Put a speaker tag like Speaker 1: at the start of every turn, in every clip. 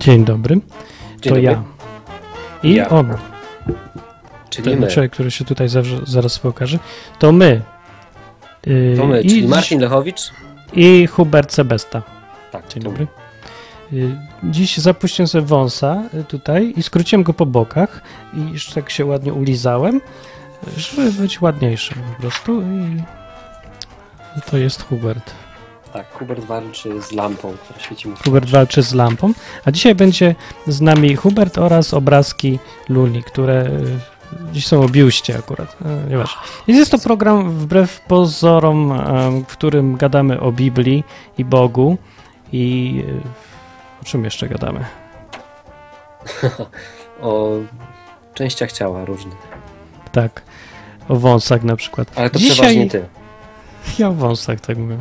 Speaker 1: Dzień dobry. to
Speaker 2: dobry.
Speaker 1: ja. I
Speaker 2: Ja.
Speaker 1: on,
Speaker 2: Czyli
Speaker 1: ten
Speaker 2: my.
Speaker 1: człowiek, który się tutaj zawsze, zaraz pokaże, to my. Yy,
Speaker 2: To my,
Speaker 1: i,
Speaker 2: czyli Marcin Lechowicz.
Speaker 1: I Hubert Sebesta.
Speaker 2: Tak,
Speaker 1: Dzień
Speaker 2: to my.
Speaker 1: dobry. Y, Dziś zapuściłem sobie wąsa y, tutaj i skróciłem go po bokach i jeszcze tak się ładnie ulizałem, y, żeby być ładniejszym po prostu i to jest Hubert.
Speaker 2: Tak, Hubert walczy z lampą, która świeci mu. w-
Speaker 1: Hubert walczy z lampą, a dzisiaj będzie z nami Hubert oraz obrazki Luni, które y, dziś są objuście akurat, y, nieważne. Więc Jest to program wbrew pozorom, em, w którym gadamy o Biblii i Bogu i y, o czym jeszcze gadamy?
Speaker 2: O częściach ciała różnych.
Speaker 1: Tak. O wąsach na przykład.
Speaker 2: Ale to
Speaker 1: Dzisiaj-
Speaker 2: przeważnie ty.
Speaker 1: Ja o wąsach tak mówię.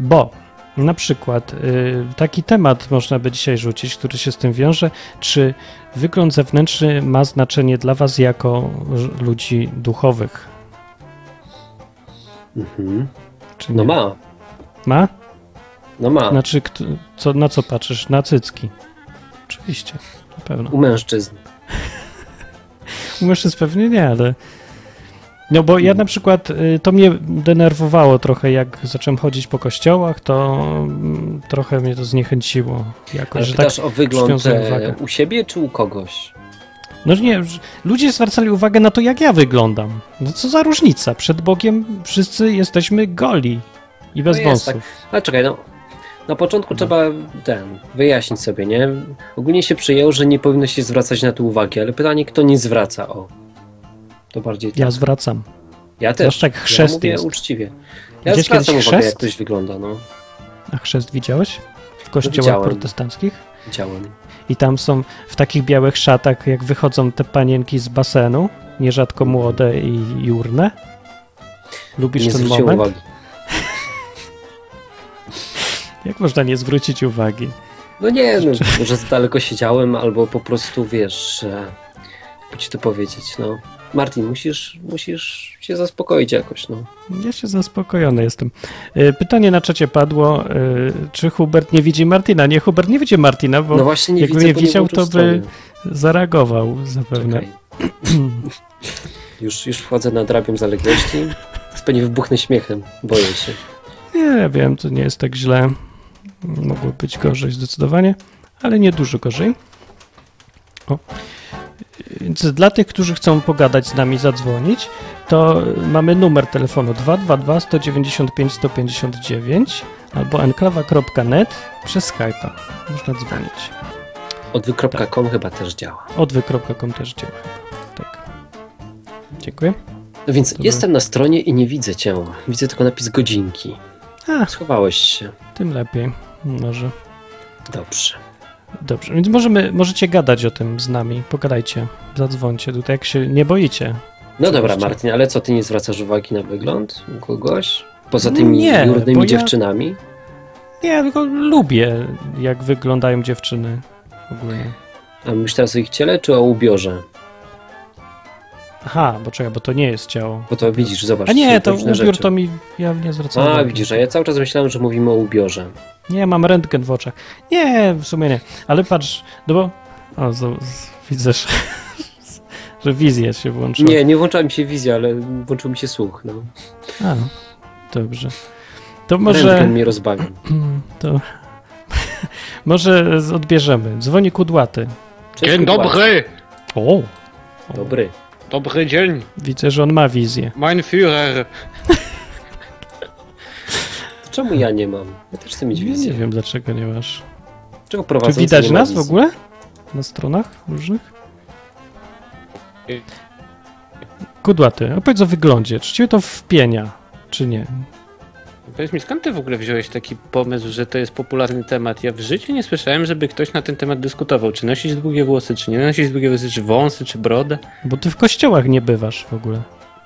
Speaker 1: Bo na przykład y, taki temat można by dzisiaj rzucić, który się z tym wiąże. Czy wygląd zewnętrzny ma znaczenie dla was jako ż- ludzi duchowych?
Speaker 2: Mhm.
Speaker 1: Czy
Speaker 2: No
Speaker 1: nie?
Speaker 2: ma,
Speaker 1: Ma?
Speaker 2: no ma.
Speaker 1: Znaczy, kto, co, na co patrzysz? Na cycki. Oczywiście, na pewno.
Speaker 2: U mężczyzn.
Speaker 1: U mężczyzn pewnie nie, ale. No bo ja na przykład y, to mnie denerwowało trochę, jak zacząłem chodzić po kościołach, to mm, trochę mnie to zniechęciło.
Speaker 2: Ale
Speaker 1: Jakoś, że tak,
Speaker 2: pytasz o wygląd
Speaker 1: przywiązuję
Speaker 2: e,
Speaker 1: uwagę.
Speaker 2: u siebie czy u kogoś?
Speaker 1: no nie, że ludzie zwracali uwagę na to, jak ja wyglądam. No co za różnica? Przed Bogiem wszyscy jesteśmy goli i bez
Speaker 2: No jest
Speaker 1: wąsów.
Speaker 2: Ale czekaj, no. Na początku trzeba ten, wyjaśnić sobie, nie? Ogólnie się przyjęło, że nie powinno się zwracać na to uwagi, ale pytanie, kto nie zwraca, o. To bardziej
Speaker 1: Ja zwracam.
Speaker 2: ja też.
Speaker 1: Zwłaszcza jak chrzest
Speaker 2: ja mówię
Speaker 1: jest.
Speaker 2: uczciwie. Ja
Speaker 1: Gdzieś
Speaker 2: zwracam
Speaker 1: kiedyś
Speaker 2: uwagę, jak
Speaker 1: chrzest?
Speaker 2: ktoś wygląda, no.
Speaker 1: A chrzest widziałeś? W kościołach
Speaker 2: widziałem.
Speaker 1: protestanckich?
Speaker 2: Widziałem.
Speaker 1: I tam są w takich białych szatach, jak wychodzą te panienki z basenu, nierzadko młode i jurne. Lubisz
Speaker 2: Mhm. nie
Speaker 1: ten
Speaker 2: zwróciłem
Speaker 1: moment?
Speaker 2: uwagi.
Speaker 1: Jak można nie zwrócić uwagi?
Speaker 2: No nie, no, że za daleko siedziałem, albo po prostu wiesz, e, jakby ci to powiedzieć, no. Martin, musisz, musisz się zaspokoić jakoś, no.
Speaker 1: Ja się zaspokojony jestem. Y, Pytanie na czacie padło, y, czy Hubert nie widzi Martina? Nie, Hubert nie widzi Martina, bo
Speaker 2: No właśnie nie
Speaker 1: jakby
Speaker 2: widzę,
Speaker 1: mnie
Speaker 2: bo nie
Speaker 1: widział,
Speaker 2: włączył
Speaker 1: to by-
Speaker 2: strony.
Speaker 1: zareagował zapewne.
Speaker 2: Czekaj. już, już wchodzę na drabią zaległości. Pewnie wybuchnę śmiechem, boję się.
Speaker 1: Nie wiem, to nie jest tak źle. Mogło być gorzej zdecydowanie, ale nie dużo gorzej. O. Więc dla tych, którzy chcą pogadać z nami, zadzwonić, to mamy numer telefonu 222 195 159 albo enklawa.net przez Skype'a. Można dzwonić.
Speaker 2: Odwy.com chyba też działa.
Speaker 1: Odwy.com też działa. Tak. Dziękuję.
Speaker 2: No więc
Speaker 1: Dobra.
Speaker 2: jestem na stronie i nie widzę cię. Widzę tylko napis godzinki.
Speaker 1: A,
Speaker 2: Schowałeś się.
Speaker 1: tym lepiej. Może.
Speaker 2: Dobrze.
Speaker 1: Dobrze, więc możemy, możecie gadać o tym z nami. Pogadajcie, zadzwońcie tutaj, jak się nie boicie.
Speaker 2: No dobra,
Speaker 1: jeszcze?
Speaker 2: Martin, ale co, ty nie zwracasz uwagi na wygląd u kogoś? Poza tymi
Speaker 1: Nie, bo
Speaker 2: jurnymi
Speaker 1: ja-
Speaker 2: dziewczynami?
Speaker 1: Nie, ja tylko lubię, jak wyglądają dziewczyny ogólnie.
Speaker 2: A myślisz teraz o ich ciele czy o ubiorze?
Speaker 1: Aha, bo czekaj, bo to nie jest ciało.
Speaker 2: Bo to widzisz, zobacz.
Speaker 1: A nie,
Speaker 2: są
Speaker 1: to
Speaker 2: różne
Speaker 1: ubiór
Speaker 2: rzeczy.
Speaker 1: to mi, ja nie zwracam
Speaker 2: A,
Speaker 1: uwagi.
Speaker 2: widzisz, a ja cały czas myślałem, że mówimy o ubiorze.
Speaker 1: Nie, mam rentgen w oczach. Nie, w sumie nie, ale patrz, no bo, o, z, z, widzę, że, że wizja się włączyła.
Speaker 2: Nie, nie włączała mi się wizja, ale włączył mi się słuch. No.
Speaker 1: A, dobrze. To
Speaker 2: Może...
Speaker 1: może...
Speaker 2: Rentgen mnie rozbawił.
Speaker 1: Mm, To może z- odbierzemy. Dzwoni kudłaty.
Speaker 2: Cześć,
Speaker 3: Dzień
Speaker 2: chłopak.
Speaker 3: dobry,
Speaker 1: O!
Speaker 2: Dobry.
Speaker 3: dobry dzień,
Speaker 1: Widzę, że on ma wizję.
Speaker 3: mein Führer.
Speaker 2: To czemu ja nie mam? Ja też chcę mieć
Speaker 1: Nie,
Speaker 2: wizję.
Speaker 1: wiem, dlaczego nie masz.
Speaker 2: Czego
Speaker 1: Czy
Speaker 2: prowadzą
Speaker 1: widać nas w ogóle? Na stronach różnych? Kudłaty, opowiedz o wyglądzie. Czy cię to wpienia, czy nie?
Speaker 3: Powiedz mi, skąd ty w ogóle wziąłeś taki pomysł, że to jest popularny temat? Ja w życiu nie słyszałem, żeby ktoś na ten temat dyskutował. Czy nosić długie włosy, czy nie nosić długie włosy, czy wąsy, czy brodę?
Speaker 1: Bo ty w kościołach nie bywasz w ogóle.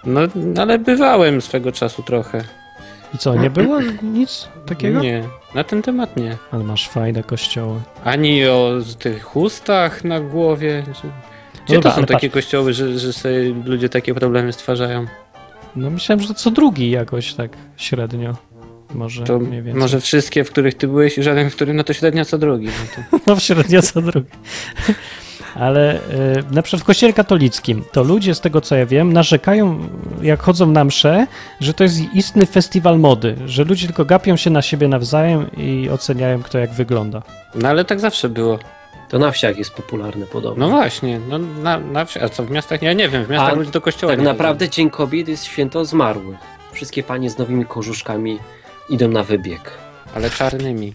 Speaker 3: No, ale bywałem swego czasu trochę.
Speaker 1: I co, nie było nic takiego?
Speaker 3: Nie, na ten temat nie.
Speaker 1: Ale masz fajne kościoły.
Speaker 3: Ani o z tych chustach na głowie. Czy... Gdzie
Speaker 1: dobra,
Speaker 3: to
Speaker 1: No tak, ale
Speaker 3: są takie kościoły, że, że sobie ludzie takie problemy stwarzają?
Speaker 1: No myślałem, że co drugi jakoś tak średnio. Może
Speaker 3: To
Speaker 1: mniej więcej.
Speaker 3: może wszystkie, w których ty byłeś i żaden, w którym, no to średnio co drugi. No to,
Speaker 1: No, średnia co drugi. Ale y, na przykład w kościele katolickim to ludzie, z tego co ja wiem, narzekają, jak chodzą na msze, że to jest istny festiwal mody, że ludzie tylko gapią się na siebie nawzajem i oceniają, kto jak wygląda.
Speaker 3: no ale tak zawsze było.
Speaker 2: To na wsiach jest popularne podobno.
Speaker 3: No właśnie, no na, na wsi, a co w miastach? Ja nie wiem, w miastach
Speaker 2: A
Speaker 3: ludzie do kościoła
Speaker 2: tak
Speaker 3: nie chodzą.
Speaker 2: naprawdę Dzień Kobiet jest święto zmarłych. Wszystkie panie z nowymi kożuszkami idą na wybieg.
Speaker 3: Ale czarnymi.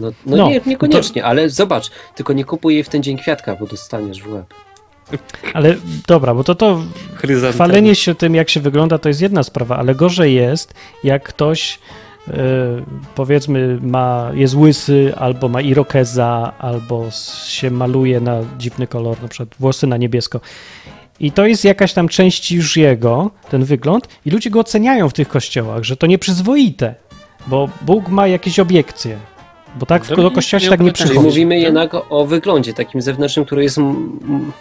Speaker 2: No, no,
Speaker 1: No,
Speaker 2: nie, niekoniecznie, ale zobacz, tylko nie kupuj jej w ten dzień kwiatka, bo dostaniesz w
Speaker 1: Tak
Speaker 2: łeb.
Speaker 1: Ale dobra, bo to to
Speaker 3: Chryzantemy.
Speaker 1: chwalenie się tym, jak się wygląda, to jest jedna sprawa, ale gorzej jest, jak ktoś y, powiedzmy ma, jest łysy, albo ma irokeza, albo s- się maluje na dziwny kolor, na przykład włosy na niebiesko. I to jest jakaś tam część już jego, ten wygląd, i ludzie go oceniają w tych kościołach, że to nieprzyzwoite, bo Bóg ma jakieś obiekcje. Bo tak w,
Speaker 3: No To
Speaker 1: do
Speaker 3: nie-
Speaker 1: kościoła się
Speaker 3: nie
Speaker 1: tak nie
Speaker 3: obywateli.
Speaker 2: Czyli
Speaker 1: przychodzi.
Speaker 2: mówimy jednak o wyglądzie takim zewnętrznym, który jest mm, mm,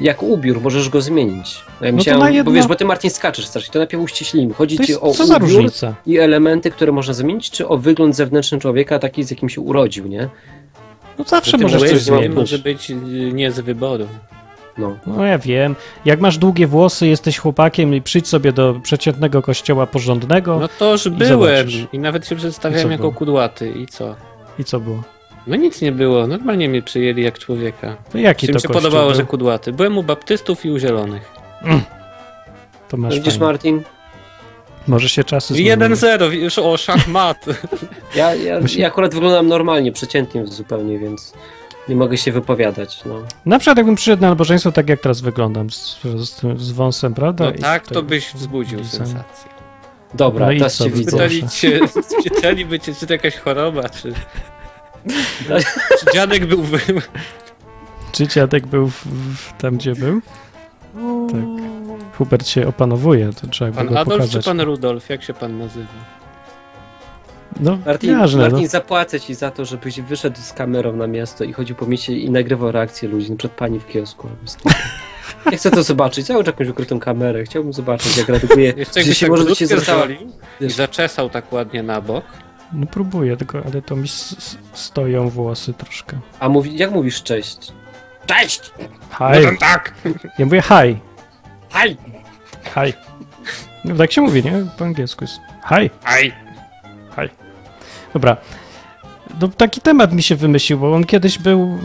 Speaker 2: jak ubiór, możesz go zmienić. No ja
Speaker 1: to
Speaker 2: myślałem,
Speaker 1: na jedno-
Speaker 2: bo wiesz, bo ty Marcin skaczesz strasznie, to najpierw uściślimy. Chodzi
Speaker 1: To
Speaker 2: ci o
Speaker 1: jest, co za
Speaker 2: ubiór
Speaker 1: różnica?
Speaker 2: i elementy, które można zmienić, czy o wygląd zewnętrzny człowieka, taki z jakim się urodził, nie?
Speaker 1: No
Speaker 3: Że
Speaker 1: zawsze
Speaker 3: tym
Speaker 1: możesz coś
Speaker 3: łysym
Speaker 1: zmienić.
Speaker 3: Może być y, nie z wyboru.
Speaker 2: No.
Speaker 1: No ja wiem. Jak masz długie włosy, jesteś chłopakiem i przyjdź sobie do przeciętnego kościoła porządnego.
Speaker 3: No toż byłem
Speaker 1: zobaczysz.
Speaker 3: i nawet się
Speaker 1: I co
Speaker 3: przedstawiałem jako
Speaker 1: było?
Speaker 3: kudłaty i co?
Speaker 1: I co było?
Speaker 3: No nic nie było, normalnie mnie przyjęli jak człowieka.
Speaker 1: To jaki
Speaker 3: Czy mi
Speaker 1: to
Speaker 3: się
Speaker 1: kościół
Speaker 3: podobało,
Speaker 1: był?
Speaker 3: że kudłaty? Byłem u baptystów i u zielonych.
Speaker 1: To masz
Speaker 2: Widzisz,
Speaker 1: fajne.
Speaker 2: Martin?
Speaker 1: Może się czasy zmieniły.
Speaker 3: 1-0, już o szachmat.
Speaker 2: Ja, ja, ja akurat wyglądam normalnie, przeciętnie zupełnie, więc nie mogę się wypowiadać. No.
Speaker 1: Na przykład jakbym przyszedł na nabożeństwo tak jak teraz wyglądam, z, z, tym- z wąsem, prawda?
Speaker 3: No
Speaker 1: I z
Speaker 3: tak,
Speaker 1: tego.
Speaker 3: to byś wzbudził
Speaker 1: Lisem.
Speaker 3: sensację.
Speaker 2: Dobra,
Speaker 1: No i
Speaker 2: teraz
Speaker 1: co?
Speaker 2: cię widzę.
Speaker 1: Pytanie-
Speaker 3: Pytali cię, pytaliby cię, czy to jakaś choroba, czy...
Speaker 1: No.
Speaker 3: czy dziadek był... w-
Speaker 1: Czy dziadek był w, w, tam, gdzie był? Tak. Hubert się opanowuje, to trzeba by
Speaker 3: Pan
Speaker 1: go
Speaker 3: Adolf czy
Speaker 1: pokazać.
Speaker 3: pan Rudolf? Jak się pan nazywa?
Speaker 1: No,
Speaker 2: Martin,
Speaker 1: nieważne,
Speaker 2: Martin zapłacę ci za to, żebyś wyszedł z kamerą na miasto i chodził po mieście i nagrywał reakcje ludzi, na przykład pani w kiosku. albo sklepie. Ja chcę to zobaczyć, ja mam jakąś ukrytą kamerę, chciałbym zobaczyć, jak reaguje,
Speaker 3: Jeszcze
Speaker 2: że
Speaker 3: jakby
Speaker 2: się
Speaker 3: tak
Speaker 2: może do
Speaker 3: brudkę
Speaker 2: ciebie zwracała.
Speaker 3: zrobił i zaczesał tak ładnie na bok.
Speaker 1: no. no próbuję, tylko, ale to mi s- s- stoją włosy troszkę.
Speaker 2: A mówi, jak mówisz cześć? Cześć!
Speaker 1: Haj,
Speaker 3: tak!
Speaker 1: ja mówię haj.
Speaker 2: Hej!
Speaker 1: Hi. No, tak się mówi, nie? Po angielsku jest. Hi.
Speaker 3: Aj!
Speaker 1: Dobra. No, taki temat mi się wymyślił, bo on kiedyś był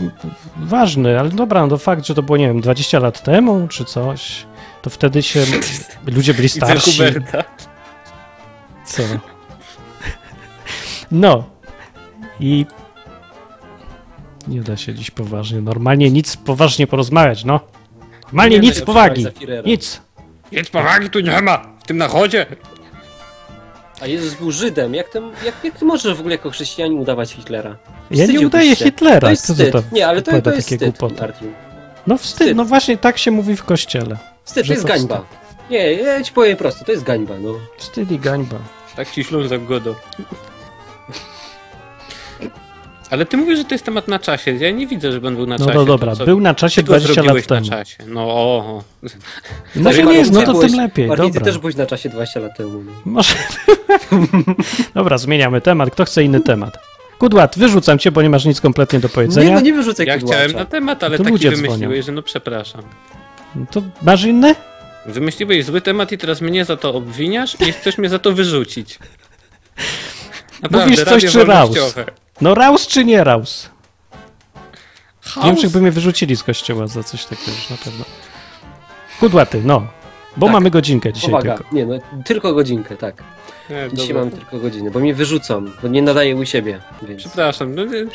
Speaker 1: ważny, ale dobra, no fakt, że to było, nie wiem, 20 lat temu czy coś, to wtedy się ludzie byli
Speaker 3: Widzę
Speaker 1: starsi.
Speaker 3: Huberta.
Speaker 1: Co? No. I nie da się dziś poważnie, normalnie nic poważnie porozmawiać, no. Normalnie
Speaker 2: no,
Speaker 1: nic powagi. Nic.
Speaker 3: Nic powagi tu nie ma! W tym nachodzie!
Speaker 2: A Jezus był Żydem, jak ty, jak, jak ty możesz w ogóle jako chrześcijanin udawać Hitlera?
Speaker 1: Ja nie
Speaker 2: Wstydziłbyś
Speaker 1: udaję
Speaker 2: się.
Speaker 1: Hitlera.
Speaker 2: To jest
Speaker 1: Co ty
Speaker 2: wstyd.
Speaker 1: tam?
Speaker 2: Nie, ale to,
Speaker 1: opowiada
Speaker 2: to jest
Speaker 1: takie
Speaker 2: wstyd,
Speaker 1: głupoty?
Speaker 2: Martin.
Speaker 1: No wstyd,
Speaker 2: Wstyd.
Speaker 1: no właśnie tak się mówi w kościele.
Speaker 2: Wstyd,
Speaker 1: Że
Speaker 2: to jest
Speaker 1: to
Speaker 2: gańba. Nie, ja ci powiem prosto, to jest gańba, no.
Speaker 1: Wstyd i gańba.
Speaker 3: Tak ci ślązak godo. Ale ty mówisz, że to jest temat na czasie. Ja nie widzę, żeby on był na
Speaker 1: No
Speaker 3: czasie.
Speaker 1: to dobra,
Speaker 3: co-
Speaker 1: był na czasie
Speaker 3: ty go
Speaker 1: 20 lat
Speaker 3: zrobiłeś
Speaker 1: temu.
Speaker 3: na czasie. No o. o.
Speaker 1: Może
Speaker 2: Tak,
Speaker 1: nie jest, no
Speaker 2: Martin,
Speaker 1: to
Speaker 2: byłeś-
Speaker 1: tym lepiej,
Speaker 2: Martin, ty
Speaker 1: dobra.
Speaker 2: też byłeś na czasie 20 lat temu. No.
Speaker 1: Może... dobra, zmieniamy temat, kto chce inny temat. Kudłat, wyrzucam cię, bo nie masz nic kompletnie do
Speaker 2: Nie,
Speaker 1: powiedzenia.
Speaker 2: no nie wyrzucaj
Speaker 3: Ja
Speaker 2: kudłacza.
Speaker 3: chciałem na temat, ale
Speaker 1: To
Speaker 3: taki
Speaker 1: ludzie
Speaker 3: wymyśliłeś,
Speaker 1: dzwonią.
Speaker 3: że no przepraszam.
Speaker 1: No To masz inny?
Speaker 3: Wymyśliłeś zły temat i teraz mnie za to obwiniasz i chcesz mnie za to wyrzucić.
Speaker 1: Mówisz coś,
Speaker 3: radio
Speaker 1: czy raus?
Speaker 3: wolnościowe.
Speaker 1: No raus czy nie raus? W
Speaker 3: Chaos.
Speaker 1: Niemczech by mnie wyrzucili z kościoła za coś takiego już na pewno. Kudłaty, no. Bo
Speaker 2: Tak.
Speaker 1: mamy godzinkę dzisiaj
Speaker 2: Uwaga,
Speaker 1: tylko.
Speaker 2: nie no, tylko godzinkę, tak.
Speaker 3: Nie,
Speaker 2: Dzisiaj
Speaker 3: dobra.
Speaker 2: mam tylko godzinę, bo mnie wyrzucą, bo nie nadaję u siebie, więc...
Speaker 3: Przepraszam, no, nie,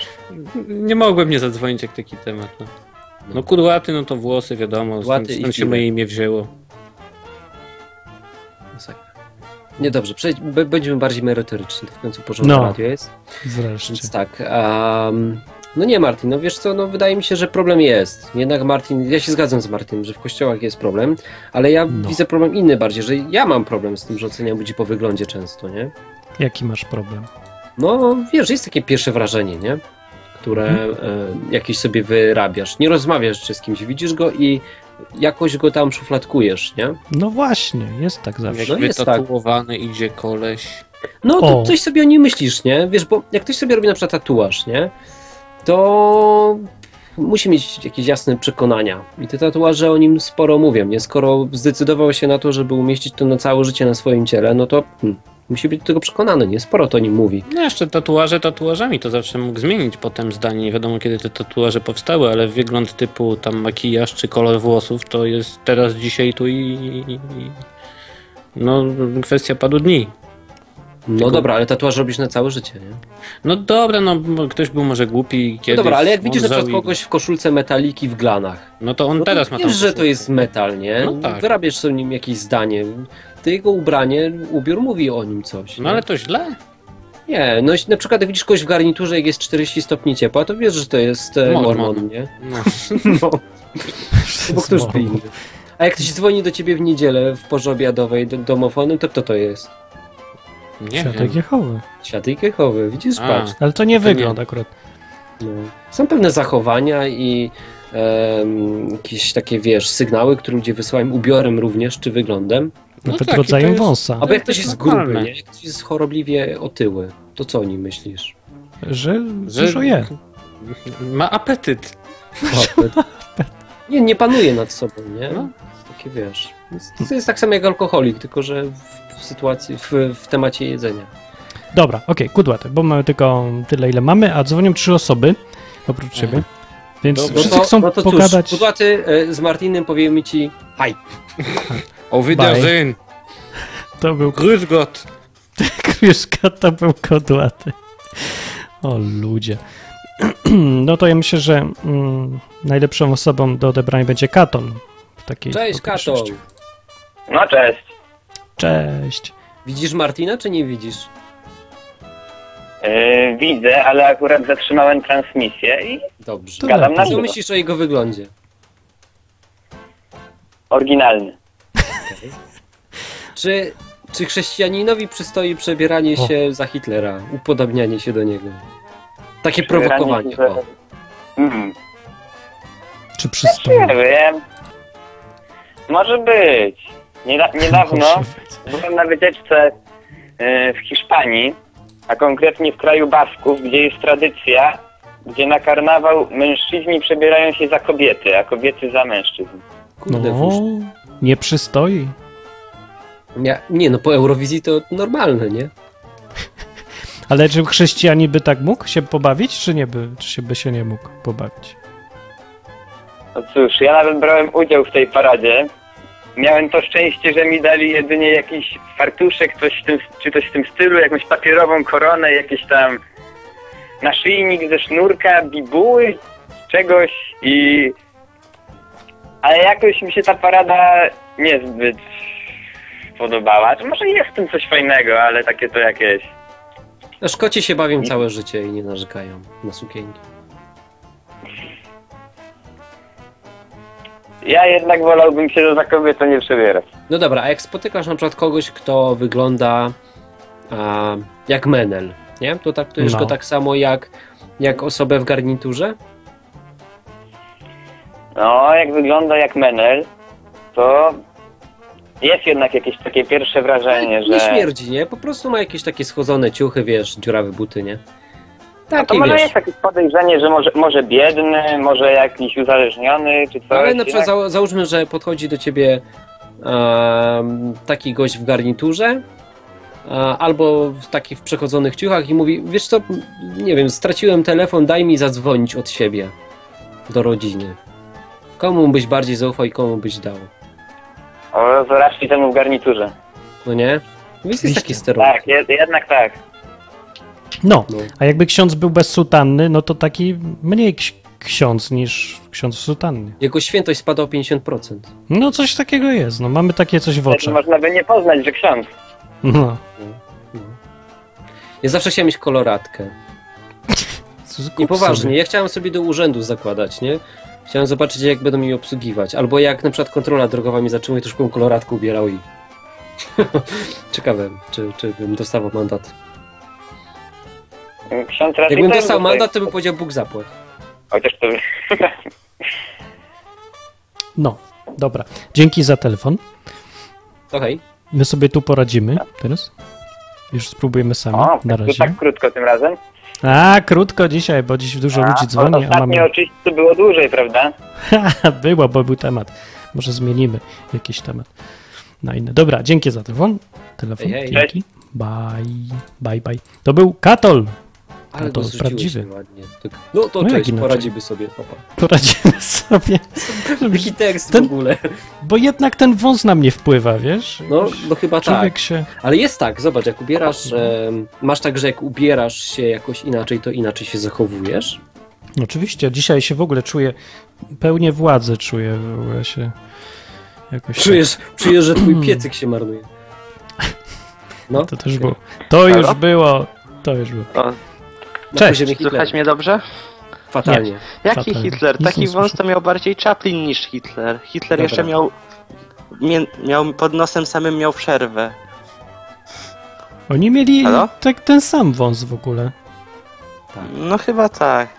Speaker 3: nie mogłem nie zadzwonić jak taki temat. No, no kudłaty, no to włosy, wiadomo,
Speaker 2: Kudłaty
Speaker 3: stąd,
Speaker 2: i
Speaker 3: stąd się
Speaker 2: piły.
Speaker 3: moje imię wzięło.
Speaker 2: Masakra. Nie, dobrze, przejdź, b- będziemy bardziej merytoryczni, to w końcu porządek
Speaker 1: No.
Speaker 2: radio jest.
Speaker 1: Wreszcie.
Speaker 2: Więc tak, em, no nie Martin, no wiesz co, no wydaje mi się, że problem jest. Jednak Martin, ja się zgadzam z Martinem, że w kościołach jest problem, ale ja
Speaker 1: No.
Speaker 2: widzę problem inny bardziej, że ja mam problem z tym, że oceniam ludzi po wyglądzie często, nie?
Speaker 1: Jaki masz problem?
Speaker 2: No, wiesz, jest takie pierwsze wrażenie, nie? Które e, jakieś sobie wyrabiasz. Nie rozmawiasz jeszcze z kimś, widzisz go i jakoś go tam szufladkujesz, nie?
Speaker 1: No właśnie, jest tak zawsze.
Speaker 3: Jak
Speaker 2: No jest tak.
Speaker 3: wytatuowany idzie koleś.
Speaker 2: No to
Speaker 1: O.
Speaker 2: coś sobie o nim myślisz, nie? Wiesz, bo jak ktoś sobie robi na przykład tatuaż, nie? To musi mieć jakieś jasne przekonania. I te tatuaże o nim sporo mówią, nie? Skoro zdecydował się na to, żeby umieścić to na całe życie na swoim ciele, no to hmm, musi być do tego przekonany, nie? Sporo to o nim mówi.
Speaker 3: No jeszcze tatuaże tatuażami, to zawsze mógł zmienić potem zdanie. Nie wiadomo kiedy te tatuaże powstały, ale wygląd typu tam makijaż czy kolor włosów to jest teraz, dzisiaj, tu i... i- i- No kwestia paru dni.
Speaker 2: No dobra, ale tatuaż robisz na całe życie, nie?
Speaker 3: No dobra, no bo ktoś był może głupi
Speaker 2: No
Speaker 3: kiedyś.
Speaker 2: dobra, ale jak widzisz na
Speaker 3: mądrzał
Speaker 2: przykład
Speaker 3: i-
Speaker 2: kogoś w koszulce metaliki w glanach,
Speaker 3: No to on
Speaker 2: No to
Speaker 3: teraz ma tam...
Speaker 2: wiesz, że to jest metal, nie?
Speaker 3: No tak.
Speaker 2: Wyrabiasz sobie nim jakieś zdanie. Ty jego ubranie, ubiór mówi o nim coś.
Speaker 3: No
Speaker 2: nie?
Speaker 3: ale to źle.
Speaker 2: Nie, no jeśli na przykład jak widzisz kogoś w garniturze, jak jest 40 stopni ciepła, to wiesz, że to jest e,
Speaker 3: Mormon.
Speaker 2: mormon, nie?
Speaker 3: No.
Speaker 2: No, bo któż by inny. A jak ktoś dzwoni do ciebie w niedzielę w porze obiadowej do, domofonem, to kto to jest?
Speaker 3: Nie
Speaker 1: Świadek
Speaker 3: wiem.
Speaker 1: Jehowy.
Speaker 2: Światek Jehowy, widzisz,
Speaker 3: A.
Speaker 2: patrz.
Speaker 1: Ale to nie
Speaker 3: To nie.
Speaker 1: wygląd akurat.
Speaker 2: No. Są pewne zachowania i em, jakieś takie, wiesz, sygnały, które ludzie wysyłają ubiorem również, czy wyglądem.
Speaker 3: No
Speaker 1: Nawet
Speaker 3: tak, i to
Speaker 1: rodzajem
Speaker 3: jest-
Speaker 1: wąsa.
Speaker 2: Albo jak
Speaker 3: to
Speaker 2: ktoś
Speaker 3: jest
Speaker 2: jest gruby,
Speaker 3: normalne.
Speaker 2: nie? Jak ktoś jest chorobliwie otyły, to co o nim myślisz?
Speaker 1: Że dużo je.
Speaker 3: Ma apetyt.
Speaker 2: Nie, nie panuje nad sobą, nie?
Speaker 3: No.
Speaker 2: Jest Takie wiesz. Jest- To jest tak samo jak alkoholik, tylko że w, w sytuacji, w, w temacie jedzenia.
Speaker 1: Dobra, okej, kudłaty, bo mamy tylko tyle, ile mamy, a dzwonią trzy osoby oprócz ciebie. Więc
Speaker 3: Dobra.
Speaker 2: No
Speaker 1: wszyscy
Speaker 2: to,
Speaker 1: chcą
Speaker 2: no to cóż,
Speaker 1: pogadać.
Speaker 2: kudłaty e, z Martinem powiemy ci haj.
Speaker 3: O
Speaker 1: wiedersehen. To był
Speaker 3: Grüß Gott.
Speaker 1: Kryszka, to był kudłaty. O ludzie. No to ja myślę, że mm, najlepszą osobą do odebrania będzie Katon. W takiej
Speaker 2: Cześć Kato.
Speaker 1: okoliczności.
Speaker 4: No cześć.
Speaker 1: Cześć.
Speaker 2: Widzisz Martina, czy nie widzisz?
Speaker 4: Yy, widzę, ale akurat zatrzymałem transmisję i
Speaker 2: Dobrze.
Speaker 1: To
Speaker 4: gadam
Speaker 1: lepiej.
Speaker 4: na
Speaker 2: Co
Speaker 4: żywo.
Speaker 2: myślisz o jego wyglądzie?
Speaker 4: Oryginalny.
Speaker 2: Czy, czy chrześcijaninowi przystoi przebieranie
Speaker 1: O.
Speaker 2: się za Hitlera, upodabnianie się do niego? Takie
Speaker 4: Rani-
Speaker 2: prowokowanie.
Speaker 4: że-
Speaker 2: O.
Speaker 4: Mm,
Speaker 1: Czy przystoi?
Speaker 4: nie wiem. Może być. Nieda- niedawno byłem na wycieczce yy, w Hiszpanii, a konkretnie w kraju Basków, gdzie jest tradycja, gdzie na karnawał mężczyźni przebierają się za kobiety, a kobiety za mężczyzn.
Speaker 2: Kurde,
Speaker 1: No,
Speaker 2: no.
Speaker 1: nie przystoi.
Speaker 2: nie, nie, no po Eurowizji to normalne, nie?
Speaker 1: Ale czy chrześcijanin by tak mógł się pobawić, czy nie by, czy się by się nie mógł pobawić?
Speaker 4: No cóż, ja nawet brałem udział w tej paradzie. Miałem to szczęście, że mi dali jedynie jakiś fartuszek, coś w tym, czy coś w tym stylu, jakąś papierową koronę, jakiś tam naszyjnik ze sznurka, bibuły, czegoś i... Ale jakoś mi się ta parada niezbyt podobała. Czy Może jest w tym coś fajnego, ale takie to jakieś...
Speaker 2: A Szkoci się bawią całe życie i nie narzekają na sukienki.
Speaker 4: Ja jednak wolałbym się za kobietę nie przebierać.
Speaker 2: No dobra, a jak spotykasz na przykład kogoś, kto wygląda a, jak menel, nie? To traktujesz
Speaker 1: No.
Speaker 2: go tak samo jak, jak osobę w garniturze?
Speaker 4: No, jak wygląda jak menel, to jest jednak jakieś takie pierwsze wrażenie,
Speaker 2: nie
Speaker 4: że...
Speaker 2: śmierdzi, nie? Po prostu ma jakieś takie schodzone ciuchy, wiesz, dziurawe buty, nie?
Speaker 4: No To
Speaker 2: Takie,
Speaker 4: może
Speaker 2: wiesz.
Speaker 4: jest jakieś podejrzenie, że może, może biedny, może jakiś uzależniony, czy coś.
Speaker 2: Ale no na przykład
Speaker 4: Tak, jednak.
Speaker 2: zał- załóżmy, że podchodzi do ciebie em, taki gość w garniturze e, albo w takich w przechodzonych ciuchach i mówi, wiesz co, nie wiem, straciłem telefon, daj mi zadzwonić od siebie do rodziny. Komu byś bardziej zaufał i komu byś dał?
Speaker 4: O, to raczej temu w garniturze.
Speaker 2: No nie? Więc jest
Speaker 1: Oczywiście.
Speaker 2: taki stereotyp.
Speaker 4: Tak, jed, jednak tak.
Speaker 1: No,
Speaker 2: No.
Speaker 1: a jakby ksiądz był bez sutanny, no to taki mniej ks- ksiądz niż ksiądz w sutannie.
Speaker 2: Jego świętość spada o 50%.
Speaker 1: No coś takiego jest, no mamy takie coś w
Speaker 4: Wtedy
Speaker 1: oczach.
Speaker 4: można by nie poznać, że ksiądz.
Speaker 1: No.
Speaker 2: Ja zawsze chciałem mieć koloratkę.
Speaker 1: Kup
Speaker 2: Niepoważnie,
Speaker 1: sobie.
Speaker 2: ja chciałem sobie do urzędu zakładać, nie? Chciałem zobaczyć, jak będą mi obsługiwać. Albo jak na przykład kontrola drogowa mi zatrzymuje, to już bym koloratkę ubierał i... Ciekawe, czy, czy bym dostawał mandat.
Speaker 4: Ksiądz raczej
Speaker 2: Jakbym
Speaker 4: też
Speaker 2: dostał
Speaker 4: tutaj-
Speaker 2: mandat, to bym powiedział Bóg zapłać.
Speaker 4: Chociaż to...
Speaker 1: No, dobra. Dzięki za telefon.
Speaker 2: Okej.
Speaker 1: My sobie tu poradzimy teraz. Już spróbujemy sami
Speaker 4: O,
Speaker 1: na
Speaker 4: to tak
Speaker 1: razie.
Speaker 4: krótko tym razem.
Speaker 1: A, krótko dzisiaj, bo dziś dużo ludzi dzwoni, a
Speaker 4: Ostatnio
Speaker 1: mamy...
Speaker 4: o czyśćcu było dłużej, prawda?
Speaker 1: Ha, Było, bo był temat. Może zmienimy jakiś temat na inny. Dobra, dzięki za telefon. Telefon,
Speaker 2: Hej, hej.
Speaker 1: dzięki. Bye, bye, bye. To był Katol.
Speaker 2: Ale
Speaker 1: No to
Speaker 2: to
Speaker 1: prawdziwy.
Speaker 2: prawdziwy. Ładnie. Tak. No
Speaker 1: No
Speaker 2: to
Speaker 1: jak
Speaker 2: cześć,
Speaker 1: inaczej?
Speaker 2: poradzimy sobie. Opa.
Speaker 1: Poradzimy sobie.
Speaker 2: Taki tekst
Speaker 1: Ten-
Speaker 2: w ogóle.
Speaker 1: Bo jednak ten wąs na mnie wpływa, wiesz?
Speaker 2: No,
Speaker 1: Jakoś
Speaker 2: no chyba
Speaker 1: Człowiek
Speaker 2: tak.
Speaker 1: się...
Speaker 2: Ale jest tak, zobacz, jak ubierasz, em, masz tak, że jak ubierasz się jakoś inaczej, to inaczej się zachowujesz.
Speaker 1: Oczywiście, dzisiaj się w ogóle czuję, pełnię władzę czuję w ogóle się jakoś... tak-
Speaker 2: Czujesz, czujesz że twój piecyk się marnuje. No,
Speaker 1: To też było. To
Speaker 5: Halo?
Speaker 1: już było. To już było.
Speaker 5: O,
Speaker 2: na
Speaker 1: Cześć.
Speaker 2: poziomie Hitlera.
Speaker 5: słychać mnie dobrze?
Speaker 2: Fatalnie.
Speaker 5: Jaki
Speaker 1: Fatalnie.
Speaker 5: Hitler?
Speaker 1: Nic nie
Speaker 5: Taki wąs
Speaker 1: słyszę.
Speaker 5: to miał bardziej Chaplin niż Hitler. Hitler
Speaker 2: Dobra.
Speaker 5: jeszcze miał, mie, miał pod nosem samym miał przerwę.
Speaker 1: Oni mieli
Speaker 5: Halo?
Speaker 1: tak ten sam wąs w ogóle.
Speaker 5: No chyba tak.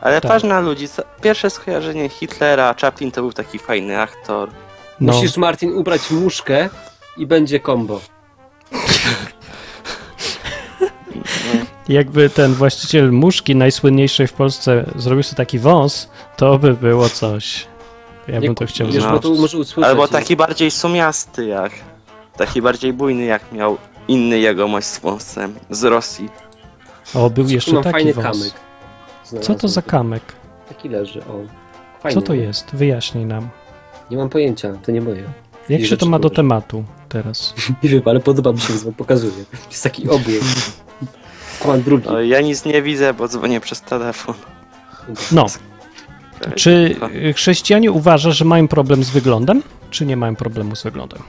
Speaker 5: Ale
Speaker 1: Tak.
Speaker 5: patrz na ludzi. co- Pierwsze skojarzenie Hitlera, Chaplin to był taki fajny aktor.
Speaker 1: No.
Speaker 2: Musisz, Martin, ubrać muszkę i będzie kombo.
Speaker 1: Jakby ten właściciel muszki najsłynniejszej w Polsce zrobił sobie taki wąs, to by było coś. Ja bym to chciał
Speaker 2: Wiesz,
Speaker 1: zrobić.
Speaker 2: bo tu może usłyszeć.
Speaker 5: Albo taki bardziej sumiasty jak. Taki bardziej bujny jak miał inny jegomość z wąsem z Rosji.
Speaker 1: O, był jeszcze
Speaker 2: Mam
Speaker 1: taki
Speaker 2: fajny
Speaker 1: wąs.
Speaker 2: kamyk.
Speaker 1: Co to za
Speaker 2: Znalazłem.
Speaker 1: kamek?
Speaker 2: Taki leży, o. Fajny.
Speaker 1: Co to jest? Wyjaśnij nam.
Speaker 2: Nie mam pojęcia, to nie moje.
Speaker 1: Jak się
Speaker 2: rzeczy
Speaker 1: to ma do
Speaker 2: dobrze.
Speaker 1: tematu teraz?
Speaker 2: Nie wiem, ale podoba mi się, więc wam pokazuję. Jest taki obieg. Mam drugi.
Speaker 5: No, ja nic nie widzę, bo dzwonię przez telefon.
Speaker 1: No. Czy y, chrześcijanie uważa, że mają problem z wyglądem, czy nie mają problemu z wyglądem?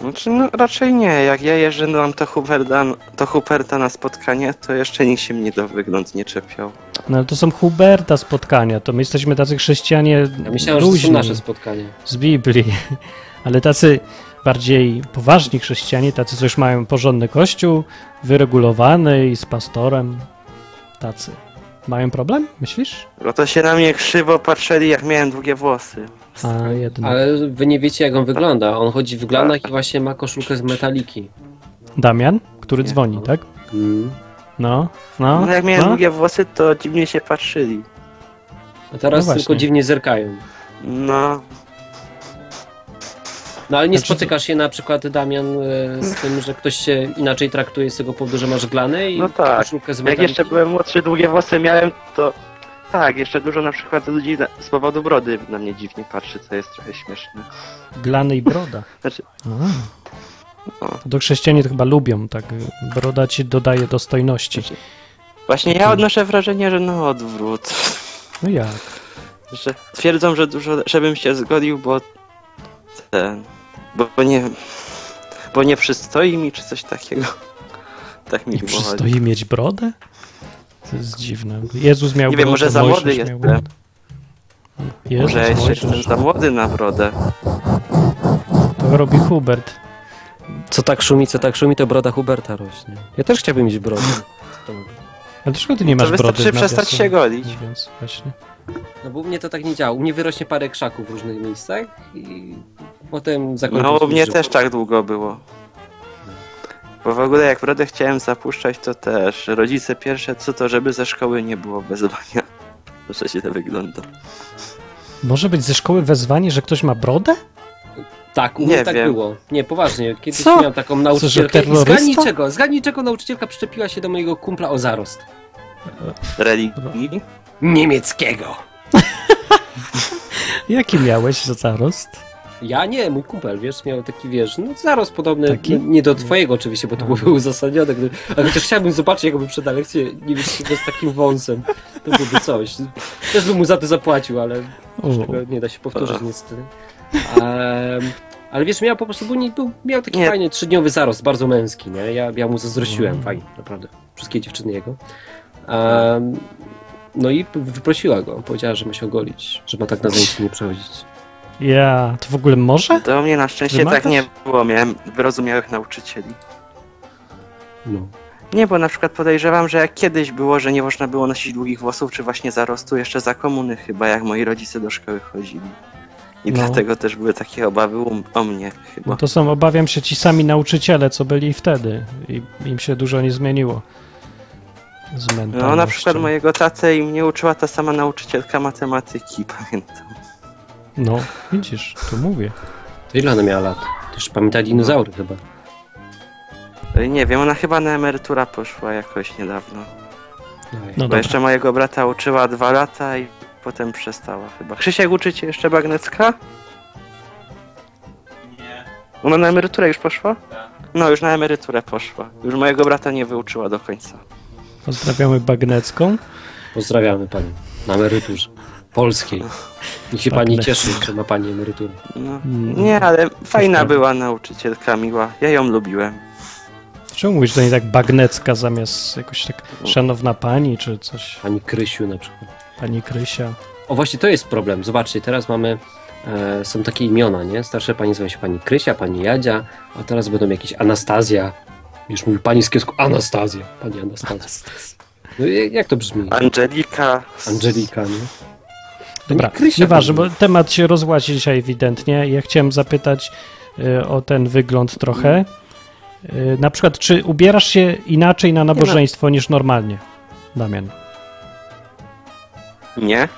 Speaker 5: Znaczy, no raczej nie. Jak ja jeżdżam to Huberta, to Huberta na spotkanie, to jeszcze nikt się mnie do wygląd nie czepiał.
Speaker 1: No ale to są Huberta spotkania, to my jesteśmy tacy chrześcijanie
Speaker 2: Ja myślałem, że to
Speaker 1: luźni,
Speaker 2: są nasze spotkania.
Speaker 1: z Biblii, ale tacy bardziej poważni chrześcijanie, tacy, co już mają porządny kościół, wyregulowany i z pastorem, tacy. Mają problem, myślisz?
Speaker 5: No to się na mnie krzywo patrzyli, jak miałem długie włosy.
Speaker 1: A, jednak.
Speaker 2: Ale wy nie wiecie, jak on wygląda. On chodzi w glanach i właśnie ma koszulkę z metaliki.
Speaker 1: Damian, który
Speaker 5: Nie.
Speaker 1: dzwoni, tak?
Speaker 2: Mm.
Speaker 1: No, no,
Speaker 5: No jak miałem
Speaker 1: no.
Speaker 5: długie włosy, to dziwnie się patrzyli.
Speaker 2: A teraz
Speaker 1: No właśnie.
Speaker 2: tylko dziwnie zerkają.
Speaker 5: No,
Speaker 2: No ale nie
Speaker 1: Znaczy to-
Speaker 2: spotykasz się na przykład, Damian, e, z tym, że ktoś się inaczej traktuje z tego powodu, że masz glany i
Speaker 5: No tak.
Speaker 2: koszulkę z
Speaker 5: jak
Speaker 2: metaliki.
Speaker 5: jeszcze byłem młodszy, długie włosy miałem, to... Tak, jeszcze dużo na przykład ludzi na, z powodu brody na mnie dziwnie patrzy, co jest trochę śmieszne.
Speaker 1: Glany i broda.
Speaker 5: Znaczy-
Speaker 1: A.
Speaker 5: No.
Speaker 1: To chrześcijanie to chyba lubią, tak? Broda ci dodaje dostojności.
Speaker 5: Właśnie ja odnoszę wrażenie, że no odwrót.
Speaker 1: No jak?
Speaker 5: że twierdzą, że dużo, żebym się zgodził, bo ten, bo, bo nie, bo nie przystoi mi, czy coś takiego. Tak mi
Speaker 1: Nie
Speaker 5: było.
Speaker 1: przystoi mieć brodę? To jest dziwne. Jezus miał
Speaker 5: Nie wiem,
Speaker 1: brodę,
Speaker 5: może za
Speaker 1: Mojżesz
Speaker 5: młody
Speaker 1: miał
Speaker 5: jestem.
Speaker 1: brodę. Jezus,
Speaker 5: Może ja jeszcze
Speaker 1: Mojżesz.
Speaker 5: jestem za młody na brodę.
Speaker 1: To robi Hubert.
Speaker 2: Co tak szumi, co tak szumi, to broda Huberta rośnie. Ja też chciałbym mieć brodę.
Speaker 1: Ale dlaczego ty nie masz
Speaker 5: to
Speaker 1: brody?
Speaker 5: wystarczy
Speaker 1: nawiasem?
Speaker 5: przestać się golić.
Speaker 1: Mówiąc, właśnie.
Speaker 2: No bo u mnie to tak nie działa. U mnie wyrośnie parę krzaków w różnych miejscach i potem zakończę
Speaker 5: No u
Speaker 2: swój
Speaker 5: mnie
Speaker 2: żywot.
Speaker 5: też tak długo było. Bo w ogóle jak brodę chciałem zapuszczać, to też rodzice pierwsze co to, żeby ze szkoły nie było wezwania. Proszę się to wygląda.
Speaker 1: Może być ze szkoły wezwanie, że ktoś ma brodę?
Speaker 2: Tak, u mnie
Speaker 5: Nie
Speaker 2: tak
Speaker 5: wiem.
Speaker 2: było. Nie, poważnie. Kiedyś
Speaker 1: Co?
Speaker 2: miałem taką nauczycielkę i
Speaker 1: terrorysta?
Speaker 2: zgadnij czego, zgadnij czego nauczycielka przyczepiła się do mojego kumpla o zarost.
Speaker 5: Religii?
Speaker 2: Niemieckiego.
Speaker 1: Jaki miałeś za zarost?
Speaker 2: Ja nie, mój kumpel, wiesz, miał taki, wiesz, no zarost podobny,
Speaker 1: Taki?
Speaker 2: no, nie do twojego oczywiście, bo to byłoby uzasadnione, gdy, a chociaż chciałbym zobaczyć, jakby przed lekcję niemieckiego z takim wąsem, to byłby coś. Też bym mu za to zapłacił, ale
Speaker 1: O,
Speaker 2: Tego nie da się powtórzyć niestety. Em, ale wiesz, miał po prostu, był, nie- był, miał taki
Speaker 5: Nie.
Speaker 2: fajny trzydniowy zarost, bardzo męski, nie? Ja, ja mu zazdrościłem,
Speaker 1: Mm.
Speaker 2: fajnie, naprawdę. Wszystkie dziewczyny jego. Em, no i p- wyprosiła go, powiedziała, że ma się ogolić, że ma tak na zajęciach nie przechodzić.
Speaker 1: ja, to w ogóle może?
Speaker 5: To u mnie na szczęście
Speaker 1: Wymagasz?
Speaker 5: tak nie było, miałem wyrozumiałych nauczycieli.
Speaker 2: No.
Speaker 5: Nie, bo na przykład podejrzewam, że jak kiedyś było, że nie można było nosić długich włosów, czy właśnie zarostu, jeszcze za komuny chyba, jak moi rodzice do szkoły chodzili. I
Speaker 1: No.
Speaker 5: dlatego też były takie obawy um, o mnie chyba.
Speaker 1: No to są, obawiam się, ci sami nauczyciele, co byli wtedy. I im się dużo nie zmieniło. Z
Speaker 5: No na
Speaker 1: mentalnością.
Speaker 5: przykład mojego tatę i mnie uczyła ta sama nauczycielka matematyki, pamiętam.
Speaker 1: No, widzisz, tu mówię.
Speaker 2: To ile ona miała lat? Też pamięta dinozaury chyba.
Speaker 5: Ej, No Nie wiem, ona chyba na emerytura poszła jakoś niedawno.
Speaker 2: Ojej.
Speaker 1: No
Speaker 5: Bo
Speaker 1: dobra.
Speaker 5: jeszcze mojego brata uczyła dwa lata i potem przestała chyba. Krzysiek, uczycie jeszcze Bagnecka? Nie. Ona na emeryturę już poszła? No, już na emeryturę poszła. Już mojego brata nie wyuczyła do końca.
Speaker 1: Pozdrawiamy Bagnecką.
Speaker 2: Pozdrawiamy panią na emeryturze polskiej. Niech się
Speaker 1: Tak,
Speaker 2: pani
Speaker 1: lecz.
Speaker 2: cieszy, że ma pani emeryturę.
Speaker 5: No.
Speaker 1: Mm.
Speaker 5: Nie, ale fajna
Speaker 1: tam.
Speaker 5: była nauczycielka, miła. Ja ją lubiłem.
Speaker 1: Czemu mówisz do niej tak Bagnecka zamiast jakoś tak szanowna pani, czy coś,
Speaker 2: Pani Krysiu na przykład.
Speaker 1: pani Krysia?
Speaker 2: O właśnie, to jest problem. Zobaczcie, teraz mamy, e, są takie imiona, nie? Starsze pani nazywa się pani Krysia, pani Jadzia, a teraz będą jakieś Anastazja. Już mówi pani z kiosku Anastazja, pani Anastazja. No i jak to brzmi?
Speaker 5: Angelika.
Speaker 2: Angelika,
Speaker 1: No.
Speaker 2: nie?
Speaker 1: Dobra,
Speaker 2: Pani Krysia
Speaker 1: nieważne, bo
Speaker 2: powinna.
Speaker 1: temat się rozłazi dzisiaj ewidentnie. Ja chciałem zapytać y, o ten wygląd trochę.
Speaker 2: Mhm.
Speaker 1: Y, na przykład, czy ubierasz się inaczej na nabożeństwo niż normalnie, Damian?
Speaker 5: Nie?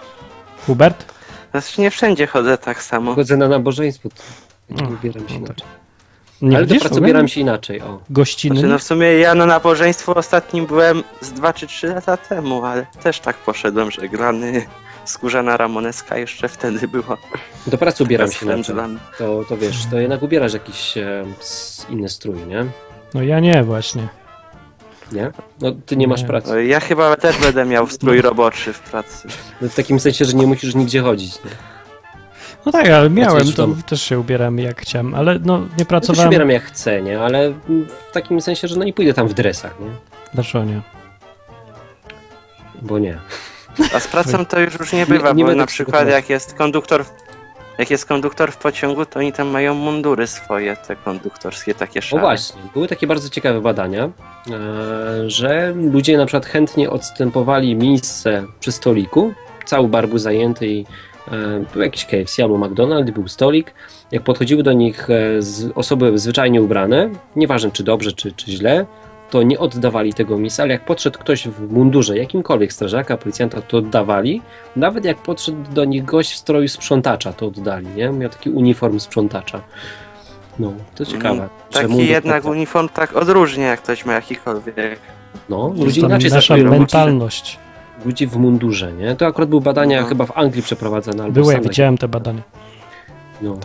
Speaker 1: Hubert?
Speaker 5: Znaczy nie wszędzie chodzę tak samo.
Speaker 2: Chodzę na nabożeństwo, to
Speaker 1: No,
Speaker 2: nie ubieram się
Speaker 1: no tak.
Speaker 2: inaczej.
Speaker 1: Nie
Speaker 2: Ale do
Speaker 1: widzisz?
Speaker 2: pracy
Speaker 1: Hubert?
Speaker 2: ubieram się inaczej, o.
Speaker 1: Gościnny?
Speaker 5: Znaczy, no w sumie ja na nabożeństwo ostatnim byłem z 2 czy 3 lata temu, ale też tak poszedłem, że grany skórzana ramoneska jeszcze wtedy była.
Speaker 2: Do pracy ubieram
Speaker 5: Teraz
Speaker 2: się inaczej.
Speaker 5: pędzlami.
Speaker 2: To, to wiesz, to jednak ubierasz jakiś e, s- inny strój, nie?
Speaker 1: no ja nie właśnie.
Speaker 2: Nie? No ty nie masz
Speaker 1: Nie.
Speaker 2: pracy.
Speaker 5: Ja chyba też będę miał strój roboczy w pracy.
Speaker 2: No, w takim sensie, że nie musisz nigdzie chodzić. Nie?
Speaker 1: No tak, ale miałem,
Speaker 2: Pracujesz w
Speaker 1: to
Speaker 2: domu.
Speaker 1: też się ubieram jak chciałem, ale no nie
Speaker 2: No, to się
Speaker 1: pracowałem
Speaker 2: ubieram jak chcę, nie? Ale mm, w takim sensie, że no nie pójdę tam w dresach, nie?
Speaker 1: Dlaczego nie?
Speaker 2: Bo nie.
Speaker 5: A z pracą to już, już nie bywa,
Speaker 2: Nie- nie
Speaker 5: bo
Speaker 2: będę
Speaker 5: na przykład
Speaker 2: przygotować.
Speaker 5: jak jest konduktor jak jest konduktor w pociągu, to oni tam mają mundury swoje, te konduktorskie takie
Speaker 2: O
Speaker 5: szare.
Speaker 2: właśnie, były takie bardzo ciekawe badania, e, że ludzie na przykład chętnie odstępowali miejsce przy stoliku, cały bar był zajęty i e, był jakiś KFC albo McDonald's, był stolik. Jak podchodziły do nich e, z- osoby zwyczajnie ubrane, nieważne czy dobrze, czy, czy źle, to nie oddawali tego miejsca, ale jak podszedł ktoś w mundurze, jakimkolwiek strażaka, policjanta, to oddawali. Nawet jak podszedł do nich gość w stroju sprzątacza, to oddali, nie? Miał taki uniform sprzątacza. No, to ciekawe. że
Speaker 5: Taki
Speaker 2: mundur
Speaker 5: jednak
Speaker 2: tak-
Speaker 5: uniform tak odróżnia, jak ktoś ma jakikolwiek.
Speaker 2: no,
Speaker 1: To
Speaker 2: ludzi
Speaker 1: tam
Speaker 2: inaczej
Speaker 1: nasza
Speaker 2: zabiorą
Speaker 1: mentalność.
Speaker 2: ludzi w mundurze, nie? To akurat były badania
Speaker 5: No.
Speaker 2: chyba w Anglii przeprowadzane. Albo w
Speaker 1: Były, ja
Speaker 2: Stanach.
Speaker 1: widziałem te badania.
Speaker 2: No.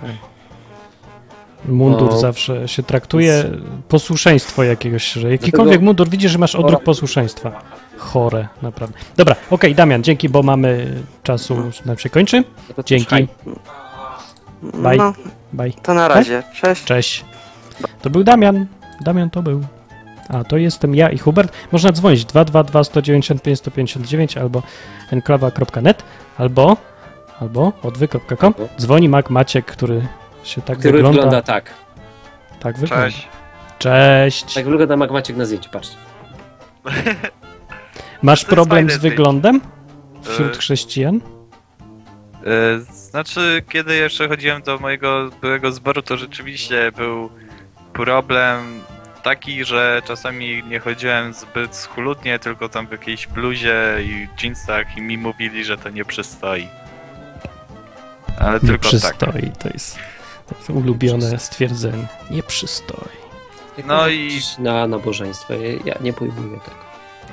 Speaker 1: Mundur
Speaker 2: No.
Speaker 1: zawsze się traktuje posłuszeństwo jakiegoś, że jakikolwiek
Speaker 2: Dlatego-
Speaker 1: mundur widzisz, że masz odruch posłuszeństwa. Chore, naprawdę. Dobra, okej, Damian, dzięki, bo mamy czasu, już nam się kończy.
Speaker 2: No to
Speaker 1: Dzięki.
Speaker 2: hej.
Speaker 1: Bye.
Speaker 5: No,
Speaker 1: Bye.
Speaker 5: to na razie.
Speaker 2: Tak?
Speaker 5: Cześć.
Speaker 1: Cześć. To był Damian. Damian to był. A to jestem ja i Hubert. Można dzwonić 222 195 159 albo enklawa.net albo albo odwy.com.
Speaker 2: Albo.
Speaker 1: Dzwoni Mac Maciek, który się tak
Speaker 2: Który
Speaker 1: wygląda.
Speaker 2: wygląda, tak.
Speaker 1: Tak wygląda. Cześć.
Speaker 2: Tak wygląda Mac Maciek na zdjęciu, patrzcie.
Speaker 1: Masz
Speaker 6: To jest
Speaker 1: problem
Speaker 6: fajne
Speaker 1: z
Speaker 6: zdjęcie.
Speaker 1: wyglądem wśród
Speaker 6: E,
Speaker 1: chrześcijan?
Speaker 6: E, Znaczy, kiedy jeszcze chodziłem do mojego byłego zboru, to rzeczywiście był problem taki, że czasami nie chodziłem zbyt schludnie, tylko tam w jakiejś bluzie i jeansach i mi mówili, że to nie przystoi. Ale
Speaker 1: Nie
Speaker 6: tylko tak.
Speaker 1: przystoi. To jest, to jest ulubione stwierdzenie. Nie przystoi.
Speaker 2: Jak
Speaker 6: No
Speaker 2: można
Speaker 6: i-
Speaker 2: iść Na nabożeństwo, ja, ja nie pojmuję tego.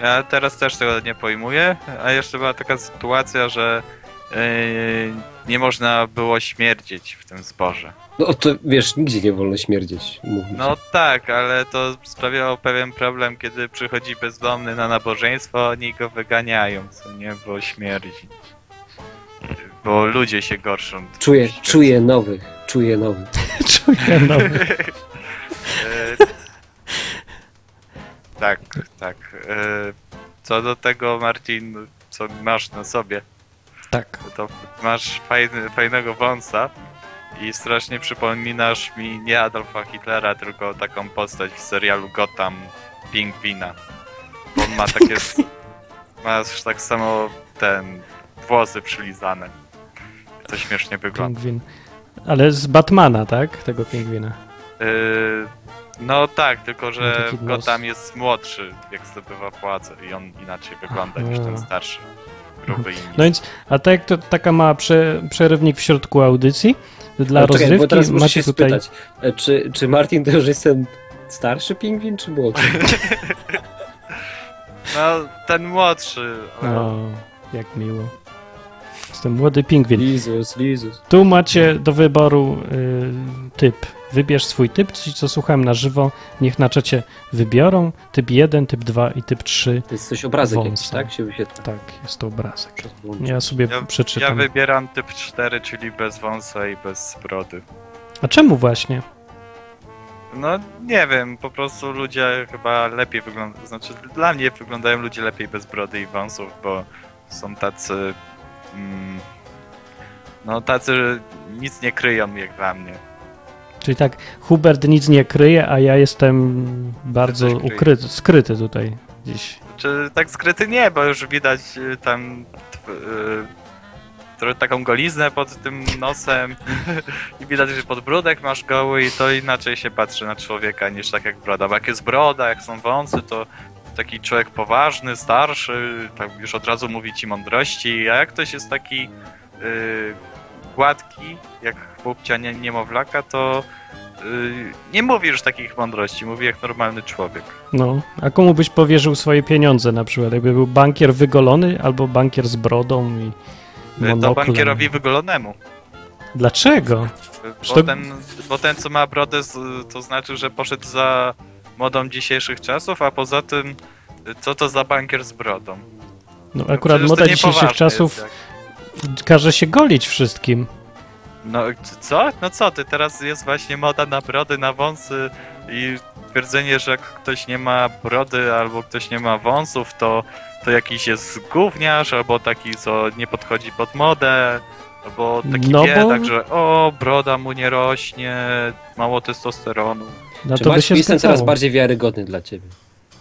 Speaker 6: Ja teraz też tego nie pojmuję, a jeszcze była taka sytuacja, że e, nie można było śmierdzieć w tym zborze.
Speaker 2: No to wiesz, nigdzie nie wolno śmierdzieć, mówmy
Speaker 6: No tak, ale to sprawiało pewien problem, kiedy przychodzi bezdomny na nabożeństwo, oni go wyganiają, co nie, bo śmierdzi. Bo ludzie się gorszą. Yy,
Speaker 2: Czuję,
Speaker 6: troszeczkę.
Speaker 2: czuję nowych, czuję nowych.
Speaker 1: Czuję no. nowy.
Speaker 6: E, tak, tak. E, co do tego, Marcin, co masz na sobie,
Speaker 1: Tak.
Speaker 6: to masz fajny, fajnego wąsa i strasznie przypominasz mi nie Adolfa Hitlera, tylko taką postać w serialu Gotham, Pingwina. Bo on ma takie... masz tak samo ten... włosy przylizane. To śmiesznie wygląda.
Speaker 1: Pingwin. Ale z Batmana, tak? Tego pingwina.
Speaker 6: Yy, no tak, tylko
Speaker 1: Ma
Speaker 6: że
Speaker 1: taki głos.
Speaker 6: Gotham jest młodszy, jak zdobywa władzę i on inaczej wygląda niż ten starszy. Gruby i
Speaker 1: No więc, a tak to taka mała prze, przerywnik w środku audycji dla
Speaker 2: Ale
Speaker 1: rozrywki.
Speaker 2: czekaj, bo teraz muszę
Speaker 1: macie
Speaker 2: się
Speaker 1: tutaj
Speaker 2: spytać, e, czy, czy Martin to już jest ten starszy pingwin, czy młodszy?
Speaker 6: No, ten młodszy. ale-
Speaker 1: O, jak miło. Jestem młody pingwin.
Speaker 2: Jezus, Jezus.
Speaker 1: Tu macie do wyboru y, typ. Wybierz swój typ, ci co słuchałem na żywo, niech na czacie wybiorą. Typ 1, typ 2 i typ 3.
Speaker 2: To jest coś obrazek
Speaker 1: Wąsa.
Speaker 2: jakiś, tak? Się wyświetla.
Speaker 1: Tak, jest to obrazek.
Speaker 2: Przez włącz.
Speaker 1: Ja sobie
Speaker 6: Ja- Ja
Speaker 1: przeczytam.
Speaker 6: wybieram typ 4, czyli bez wąsa i bez brody.
Speaker 1: A czemu właśnie?
Speaker 6: No nie wiem, po prostu ludzie chyba lepiej wyglądają, znaczy dla mnie wyglądają ludzie lepiej bez brody i wąsów, bo są tacy, mm, no tacy, że nic nie kryją jak dla mnie.
Speaker 1: Czyli tak, Hubert nic nie kryje, a ja jestem bardzo
Speaker 6: coś kryjesz.
Speaker 1: ukryty, skryty tutaj gdzieś.
Speaker 6: Czy tak skryty nie, bo już widać y, tam tw- y, trochę taką goliznę pod tym nosem i widać, że podbródek masz goły i to inaczej się patrzy na człowieka niż tak jak broda. Bo jak jest broda, jak są wąsy, to taki człowiek poważny, starszy, tak już od razu mówi ci mądrości, a jak ktoś jest taki y, gładki, jak chłopcia nie, niemowlaka, to y, nie mówi już takich mądrości, mówi jak normalny człowiek. Y,
Speaker 1: No, a komu byś powierzył swoje pieniądze na przykład? Jakby był bankier wygolony albo bankier z brodą i
Speaker 6: Y,
Speaker 1: monoklem.
Speaker 6: To bankierowi wygolonemu.
Speaker 1: Dlaczego? Czy to-
Speaker 6: Bo ten, bo ten, co ma brodę, z- to znaczy, że poszedł za modą dzisiejszych czasów, a poza tym, co to za bankier z brodą?
Speaker 1: No akurat
Speaker 6: Przecież Znaczy, to
Speaker 1: moda dzisiejszych
Speaker 6: niepoważne
Speaker 1: czasów
Speaker 6: Jest, jak...
Speaker 1: każe się golić wszystkim.
Speaker 6: No c- co? No co ty? Teraz jest właśnie moda na brody, na wąsy i twierdzenie, że jak ktoś nie ma brody albo ktoś nie ma wąsów, to, to jakiś jest gówniarz albo taki, co nie podchodzi pod modę. Albo taki
Speaker 1: No bo-
Speaker 6: biedak, że o, broda mu nie rośnie, mało testosteronu.
Speaker 1: Na
Speaker 2: Czy
Speaker 1: to by
Speaker 2: Maciek,
Speaker 1: się
Speaker 2: jestem
Speaker 1: zgadzało.
Speaker 2: coraz bardziej wiarygodny dla ciebie.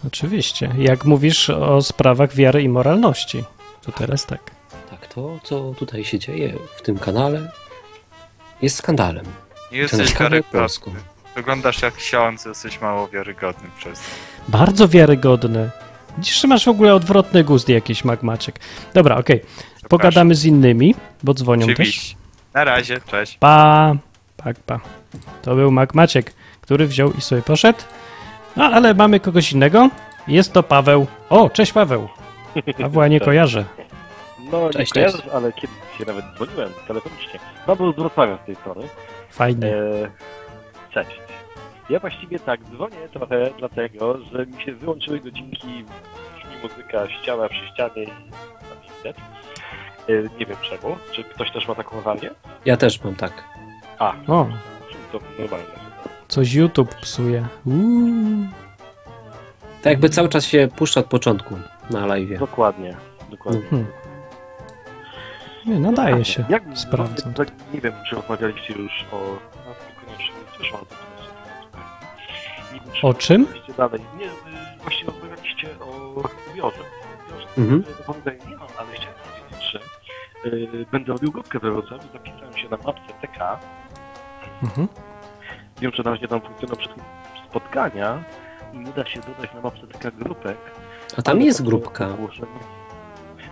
Speaker 1: Oczywiście. Jak mówisz o sprawach wiary i moralności, to teraz tak.
Speaker 2: Tak, to co tutaj się dzieje w tym kanale jest skandalem.
Speaker 6: Nie
Speaker 2: Ten
Speaker 6: jesteś
Speaker 2: skandal
Speaker 6: karykaturą.
Speaker 2: Polską.
Speaker 6: Wyglądasz jak ksiądz, jesteś mało wiarygodny przez to.
Speaker 1: Bardzo wiarygodne. Dziś masz w ogóle odwrotny gust jakiś, Magmaciek. Dobra, okej.
Speaker 6: Przepraszam.
Speaker 1: Pogadamy z innymi, bo dzwonią też.
Speaker 6: Oczywiście. Na razie, cześć.
Speaker 1: Pa, pak, pa. To był Mac Maciek, który wziął i sobie poszedł. No, ale mamy kogoś innego. Jest to Paweł. O, cześć Paweł. Pawła nie kojarzę.
Speaker 7: No
Speaker 2: Cześć,
Speaker 7: nie kojarzysz, ale kiedyś się nawet dzwoniłem telefonicznie. Paweł z Wrocławia z tej strony.
Speaker 1: Fajnie.
Speaker 7: E, cześć. Ja właściwie tak dzwonię trochę dlatego, że mi się wyłączyły godzinki, brzmi muzyka, ściana przy ścianie i tam widać. E, nie wiem czemu. Czy ktoś też ma taką awarię?
Speaker 2: Ja też mam tak.
Speaker 7: A,
Speaker 1: O,
Speaker 7: czyli to normalne.
Speaker 1: coś YouTube psuje. Uuu.
Speaker 2: Tak jakby cały czas się puszcza od początku na live.
Speaker 7: Dokładnie, dokładnie.
Speaker 2: Mhm.
Speaker 1: Hmm. Nie, nadaje się.
Speaker 7: Tak, Jak,
Speaker 1: Sprawdzam.
Speaker 7: no, tak nie wiem, czy rozmawialiście już o... No, niekoniecznie, też mam to Nie wiem, czy
Speaker 1: O czym?
Speaker 7: Oczywiście dalej. Nie, y, właśnie rozmawialiście o zbiorze. Zbiorze,
Speaker 2: Mhm.
Speaker 7: y, powiedzenia nie mam, ale chciałem powiedzieć, że y, będę robił grupkę we Wrocławiu, zapisałem się na mapce TK.
Speaker 1: Mhm.
Speaker 7: Wiem, że na razie tam funkcjonują przed spotkania i nie da się dodać na mapce TK grupek.
Speaker 2: A tam
Speaker 7: ale tak
Speaker 2: jest
Speaker 7: takie
Speaker 2: grupka.
Speaker 7: ogłoszenie-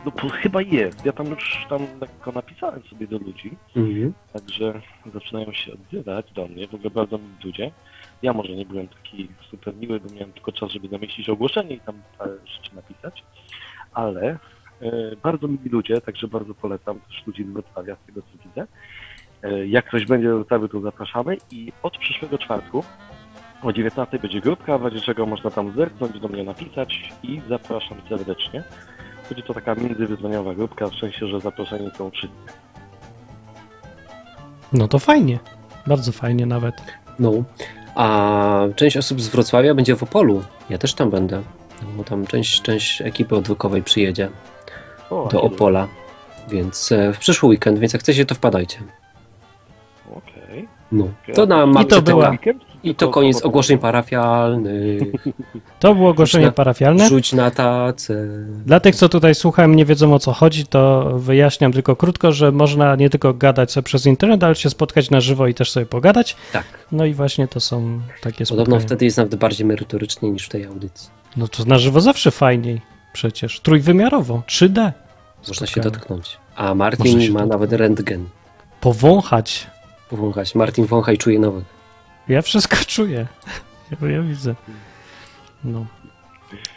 Speaker 7: No po, chyba jest. Ja tam już tam lekko napisałem sobie do ludzi,
Speaker 2: Mhm.
Speaker 7: także zaczynają się odzywać do mnie. W ogóle bardzo mi ludzie. Ja może nie byłem taki super miły, bo miałem tylko czas, żeby zamieścić ogłoszenie i tam parę rzeczy napisać, ale e, bardzo mili ludzie, także bardzo polecam też ludzi z Wrocławia, z tego co widzę. E, jak ktoś będzie do Wrocławiu, to zapraszamy i od przyszłego czwartku o 19 będzie grupka, w razie czego można tam zerknąć, do mnie napisać i zapraszam serdecznie. Będzie to taka międzywyzwaniowa grupka, w sensie, że zaproszeni są wszyscy.
Speaker 1: No to fajnie. Bardzo fajnie nawet.
Speaker 2: No. A część osób z Wrocławia będzie w Opolu. Ja też tam będę. No, Bo tam część, część ekipy odwykowej przyjedzie
Speaker 7: O,
Speaker 2: do
Speaker 7: Jezu.
Speaker 2: Opola. Więc e, w przyszły weekend, więc jak chcecie, to wpadajcie.
Speaker 7: Okej.
Speaker 2: No. To na mapce
Speaker 1: to była-
Speaker 2: TK.
Speaker 7: Weekend?
Speaker 2: I to koniec ogłoszeń parafialnych.
Speaker 1: To było ogłoszenie
Speaker 2: Rzuć na-
Speaker 1: parafialne.
Speaker 2: Rzuć na tacę.
Speaker 1: Dla tych, co tutaj słuchają, nie wiedzą o co chodzi, to wyjaśniam tylko krótko, że można nie tylko gadać sobie przez internet, ale się spotkać na żywo i też sobie pogadać.
Speaker 2: Tak.
Speaker 1: No i właśnie to są takie
Speaker 2: Podobno
Speaker 1: spotkania.
Speaker 2: wtedy jest nawet bardziej merytorycznie niż w tej audycji.
Speaker 1: No to na żywo zawsze fajniej przecież. Trójwymiarowo, 3D.
Speaker 2: Można się
Speaker 1: Spotkania.
Speaker 2: dotknąć. A
Speaker 1: Można się
Speaker 2: Martin ma
Speaker 1: dotknąć.
Speaker 2: nawet rentgen.
Speaker 1: Powąchać.
Speaker 2: Wąchać. Martin wącha i czuje nowych.
Speaker 1: Ja wszystko czuję. Ja, ja widzę. No.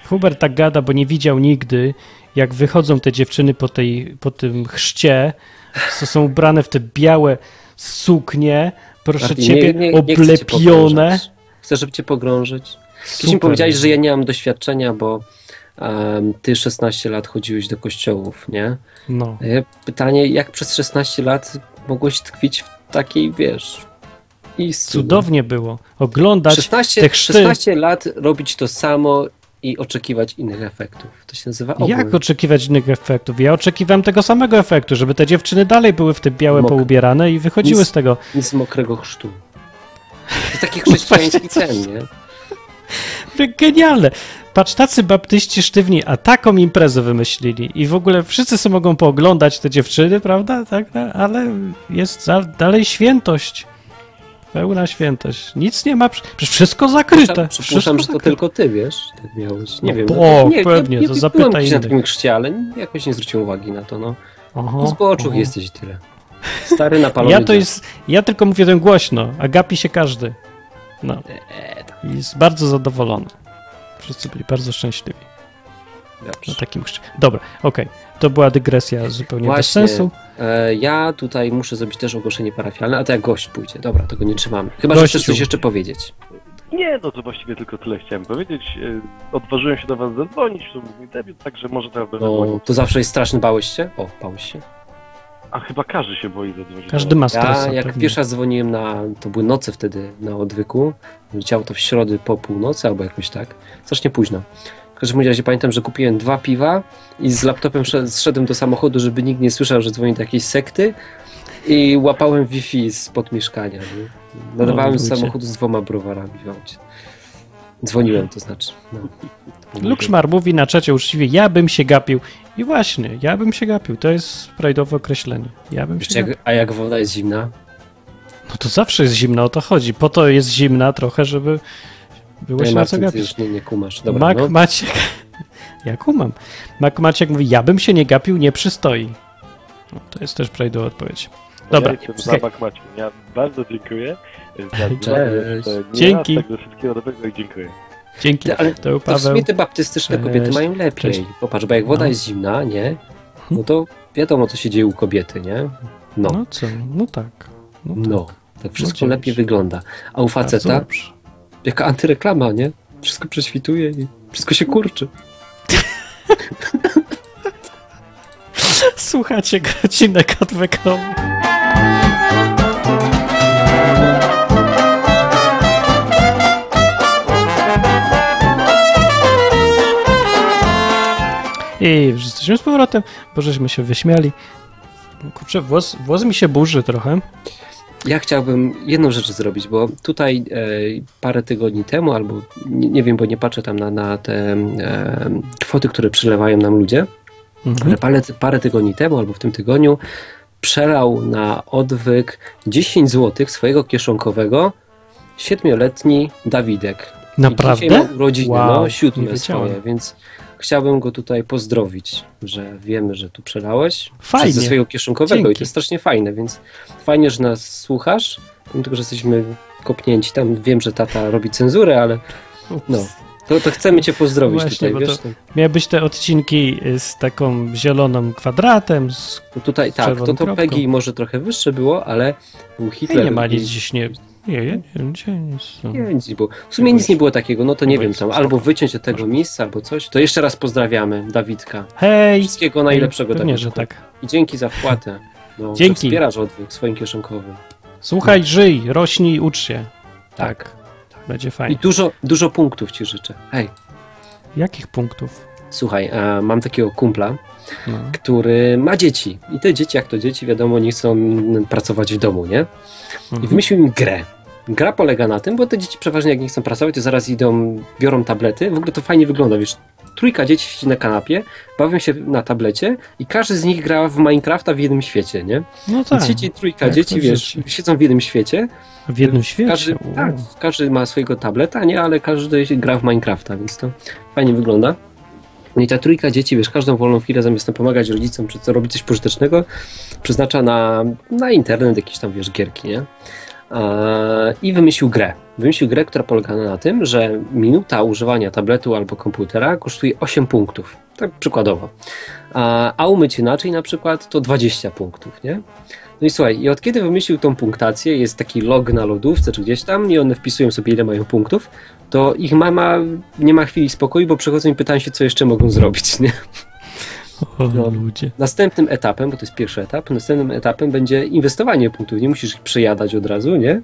Speaker 1: Hubert tak gada, bo nie widział nigdy, jak wychodzą te dziewczyny po, tej, po tym chrzcie, co są ubrane w te białe suknie, proszę
Speaker 2: Martin,
Speaker 1: ciebie,
Speaker 2: chcę cię
Speaker 1: oblepione.
Speaker 2: pogrążać. Chcę, żeby cię pogrążyć. Kiedyś mi
Speaker 1: Super.
Speaker 2: powiedziałeś, że ja nie mam doświadczenia, bo em, ty 16 lat chodziłeś do kościołów, nie?
Speaker 1: No,
Speaker 2: E, Pytanie, jak przez 16 lat mogłeś tkwić w takiej, wiesz, istnie?
Speaker 1: cudownie było oglądać.
Speaker 2: 16,
Speaker 1: te chrzty.
Speaker 2: 16 lat robić to samo i oczekiwać innych efektów. To się nazywa obłęd.
Speaker 1: Jak oczekiwać innych efektów? Ja oczekiwałem tego samego efektu, żeby te dziewczyny dalej były w te białe
Speaker 2: Mokre.
Speaker 1: poubierane i wychodziły
Speaker 2: Nic-
Speaker 1: z tego.
Speaker 2: Nic mokrego chrztu. To jest taki chrześcijański cen, nie?
Speaker 1: Genialne. Patrz, tacy baptyści sztywni, a taką imprezę wymyślili. I w ogóle wszyscy sobie mogą pooglądać te dziewczyny, prawda? Tak, no, ale jest za, dalej świętość. Pełna świętość. Nic nie ma. przy- Przecież wszystko zakryte.
Speaker 2: Przypuszczam,
Speaker 1: Wszystko
Speaker 2: że to
Speaker 1: zakryte.
Speaker 2: tylko ty, wiesz? Tak miałeś. Nie
Speaker 1: No,
Speaker 2: wiem.
Speaker 1: bo-
Speaker 2: no,
Speaker 1: o,
Speaker 2: nie,
Speaker 1: pewnie,
Speaker 2: nie,
Speaker 1: to
Speaker 2: nie
Speaker 1: zapytaj
Speaker 2: byłem gdzieś na
Speaker 1: innych.
Speaker 2: tym chrzcie, ale jakoś nie zwróciłem uwagi na to, no.
Speaker 1: Oho,
Speaker 2: no z oczu
Speaker 1: oho.
Speaker 2: jesteś i tyle. Stary napalony.
Speaker 1: Ja to
Speaker 2: dziad.
Speaker 1: jest. Ja tylko mówię ten głośno, a gapi się każdy. No.
Speaker 2: E, tak,
Speaker 1: I jest bardzo zadowolony. Wszyscy byli bardzo szczęśliwi na
Speaker 2: dobrze.
Speaker 1: takim chrzcie. Dobra, okej. To była dygresja zupełnie bez
Speaker 2: Właśnie.
Speaker 1: sensu.
Speaker 2: E, ja tutaj muszę zrobić też ogłoszenie parafialne, a to jak gość pójdzie. Dobra, tego nie trzymamy. Chyba, że
Speaker 1: Gościu.
Speaker 2: chcesz coś jeszcze powiedzieć.
Speaker 7: Nie, no to właściwie tylko tyle chciałem powiedzieć. E, Odważyłem się do was zadzwonić, to był mój debiut, także może teraz będę
Speaker 2: No,
Speaker 7: dzwonił.
Speaker 2: to zawsze jest straszny, bałeś się? O, bałeś się.
Speaker 7: A chyba każdy się boi zadzwonić.
Speaker 1: Każdy ma stresa.
Speaker 2: Ja jak
Speaker 1: pewnie.
Speaker 2: pierwszy raz dzwoniłem na, to były noce wtedy na odwyku, działo to w środę po północy albo jakoś tak, strasznie późno. W każdym razie pamiętam, że kupiłem dwa piwa i z laptopem sze- zszedłem do samochodu, żeby nikt nie słyszał, że dzwoni do jakiejś sekty i łapałem Wi-Fi spod mieszkania. Nie? Nadawałem
Speaker 1: No,
Speaker 2: z
Speaker 1: ludzie.
Speaker 2: samochodu z dwoma browarami w aucie. Dzwoniłem, to znaczy. No.
Speaker 1: Lukszmar mówi na czacie uczciwie, ja bym się gapił. I właśnie, ja bym się gapił. To jest frajdowe określenie. Ja bym
Speaker 2: Wiesz,
Speaker 1: się gapił.
Speaker 2: jak, a jak woda jest zimna?
Speaker 1: No to zawsze jest zimno, o to chodzi. Po to jest zimna trochę, żeby było
Speaker 2: Nie,
Speaker 1: się na co
Speaker 2: Marcin, ty
Speaker 1: gapić.
Speaker 2: już nie, nie kumasz. Dobra,
Speaker 1: Mak
Speaker 2: no.
Speaker 1: Maciek... Ja kumam. Mak Maciek mówi, ja bym się nie gapił, nie przystoi. No, to jest też frajdowa odpowiedź. Dobra,
Speaker 7: Ja jestem
Speaker 1: okej.
Speaker 7: Zabak Maciej. Ja bardzo dziękuję. za
Speaker 2: Cześć.
Speaker 7: dzwonek, jeszcze nie raz,
Speaker 1: Dzięki.
Speaker 7: Także wszystkiego dobrego i dziękuję.
Speaker 1: dzięki.
Speaker 2: Ale
Speaker 1: To był
Speaker 2: To w
Speaker 1: Paweł.
Speaker 2: sumie te baptystyczne
Speaker 1: Cześć.
Speaker 2: kobiety mają lepiej.
Speaker 1: Cześć.
Speaker 2: Popatrz, bo jak woda
Speaker 1: No.
Speaker 2: jest zimna, nie? No to wiadomo, co się dzieje u kobiety, nie? No, no.
Speaker 1: No co, no tak. No, tak.
Speaker 2: Tak wszystko
Speaker 1: dzieje
Speaker 2: lepiej
Speaker 1: się.
Speaker 2: wygląda. A u
Speaker 1: Bardzo
Speaker 2: faceta,
Speaker 1: dobrze.
Speaker 2: jaka antyreklama, nie? Wszystko prześwituje i wszystko się kurczy.
Speaker 1: Słuchacie godzinę odwykowy. I już jesteśmy z powrotem, bo żeśmy się wyśmiali. Kurczę, włos, włos mi się burzy trochę.
Speaker 2: Ja chciałbym jedną rzecz zrobić, bo tutaj e, parę tygodni temu, albo nie, nie wiem, bo nie patrzę tam na, na te e, kwoty, które przelewają nam ludzie,
Speaker 1: Mhm.
Speaker 2: ale parę, parę tygodni temu albo w tym tygodniu przelał na odwyk 10 zł swojego kieszonkowego siedmioletni Dawidek. I
Speaker 1: Naprawdę?
Speaker 2: dzisiaj ma urodziny,
Speaker 1: Wow,
Speaker 2: no,
Speaker 1: nie
Speaker 2: siódme
Speaker 1: wiedziałem.
Speaker 2: swoje, więc chciałbym go tutaj pozdrowić, że wiemy, że tu przelałeś.
Speaker 1: Fajnie.
Speaker 2: Ze swojego kieszonkowego i
Speaker 1: Dzięki.
Speaker 2: to jest strasznie fajne, więc fajnie, że nas słuchasz, mimo tego, że jesteśmy kopnięci tam, wiem, że tata robi cenzurę, ale no, to, to chcemy cię pozdrowić
Speaker 1: Właśnie, bo
Speaker 2: tutaj, wiesz, tak.
Speaker 1: to- Miały być te odcinki y, z taką zieloną kwadratem, z
Speaker 2: No tutaj
Speaker 1: Z
Speaker 2: tak, to,
Speaker 1: czerwoną
Speaker 2: to
Speaker 1: kropką.
Speaker 2: Peggy może trochę wyższe było, ale był Hitler.
Speaker 1: Hitler, nie ma
Speaker 2: i-
Speaker 1: nic dziś, nie... Nie, nie, nie, nie,
Speaker 2: Nie, nic nie było. W sumie nic nie było takiego, no to nie
Speaker 1: Chyba
Speaker 2: wiem
Speaker 1: jest
Speaker 2: tam,
Speaker 1: spoko.
Speaker 2: albo wyciąć od tego miejsca, albo coś. To jeszcze raz pozdrawiamy Dawidka.
Speaker 1: Hej!
Speaker 2: Wszystkiego najlepszego
Speaker 1: Pewnie, że
Speaker 2: Dawidku.
Speaker 1: tak.
Speaker 2: I dzięki za wpłatę. No, że
Speaker 1: Dzięki.
Speaker 2: Wspierasz odwyk swoim kieszonkowym.
Speaker 1: Słuchaj, żyj, rośnij i ucz się.
Speaker 2: No. Tak.
Speaker 1: Będzie
Speaker 2: I
Speaker 1: fajnie.
Speaker 2: dużo, dużo punktów ci życzę. Hej,
Speaker 1: Jakich punktów?
Speaker 2: słuchaj, e, mam takiego kumpla,
Speaker 1: No.
Speaker 2: który ma dzieci. I te dzieci, jak to dzieci, wiadomo, nie chcą mm, pracować w domu, nie? I
Speaker 1: Mhm.
Speaker 2: wymyślił im grę. Gra polega na tym, bo te dzieci przeważnie jak nie chcą pracować, to zaraz idą, biorą tablety. W ogóle to fajnie wygląda, wiesz. Trójka dzieci siedzi na kanapie, bawią się na tablecie i każdy z nich gra w Minecrafta w jednym świecie, nie?
Speaker 1: No
Speaker 2: Tak,
Speaker 1: tak.
Speaker 2: siedzi trójka
Speaker 1: Tak,
Speaker 2: dzieci,
Speaker 1: to
Speaker 2: wiesz,
Speaker 1: dzieci.
Speaker 2: siedzą w jednym świecie.
Speaker 1: W jednym świecie.
Speaker 2: Każdy,
Speaker 1: Wow.
Speaker 2: tak, każdy ma swojego tableta, nie? Ale każdy się gra w Minecrafta, więc to fajnie wygląda. No i ta trójka dzieci, wiesz, każdą wolną chwilę zamiast tam pomagać rodzicom, czy co, robić coś pożytecznego, przeznacza na, na internet jakieś tam, wiesz, gierki, nie? Eee, I wymyślił grę. Wymyślił grę, która polega na tym, że minuta używania tabletu albo komputera kosztuje 8 punktów. Tak przykładowo. A, a umyć inaczej na przykład to 20 punktów, nie? No i słuchaj, i od kiedy wymyślił tą punktację, jest taki log na lodówce czy gdzieś tam i one wpisują sobie ile mają punktów, to ich mama nie ma chwili spokoju, bo przychodzą i pytają się, co jeszcze mogą zrobić, nie?
Speaker 1: O,
Speaker 2: No.
Speaker 1: ludzie.
Speaker 2: Następnym etapem, bo to jest pierwszy etap, następnym etapem będzie inwestowanie punktów. Nie musisz ich przejadać od razu, nie?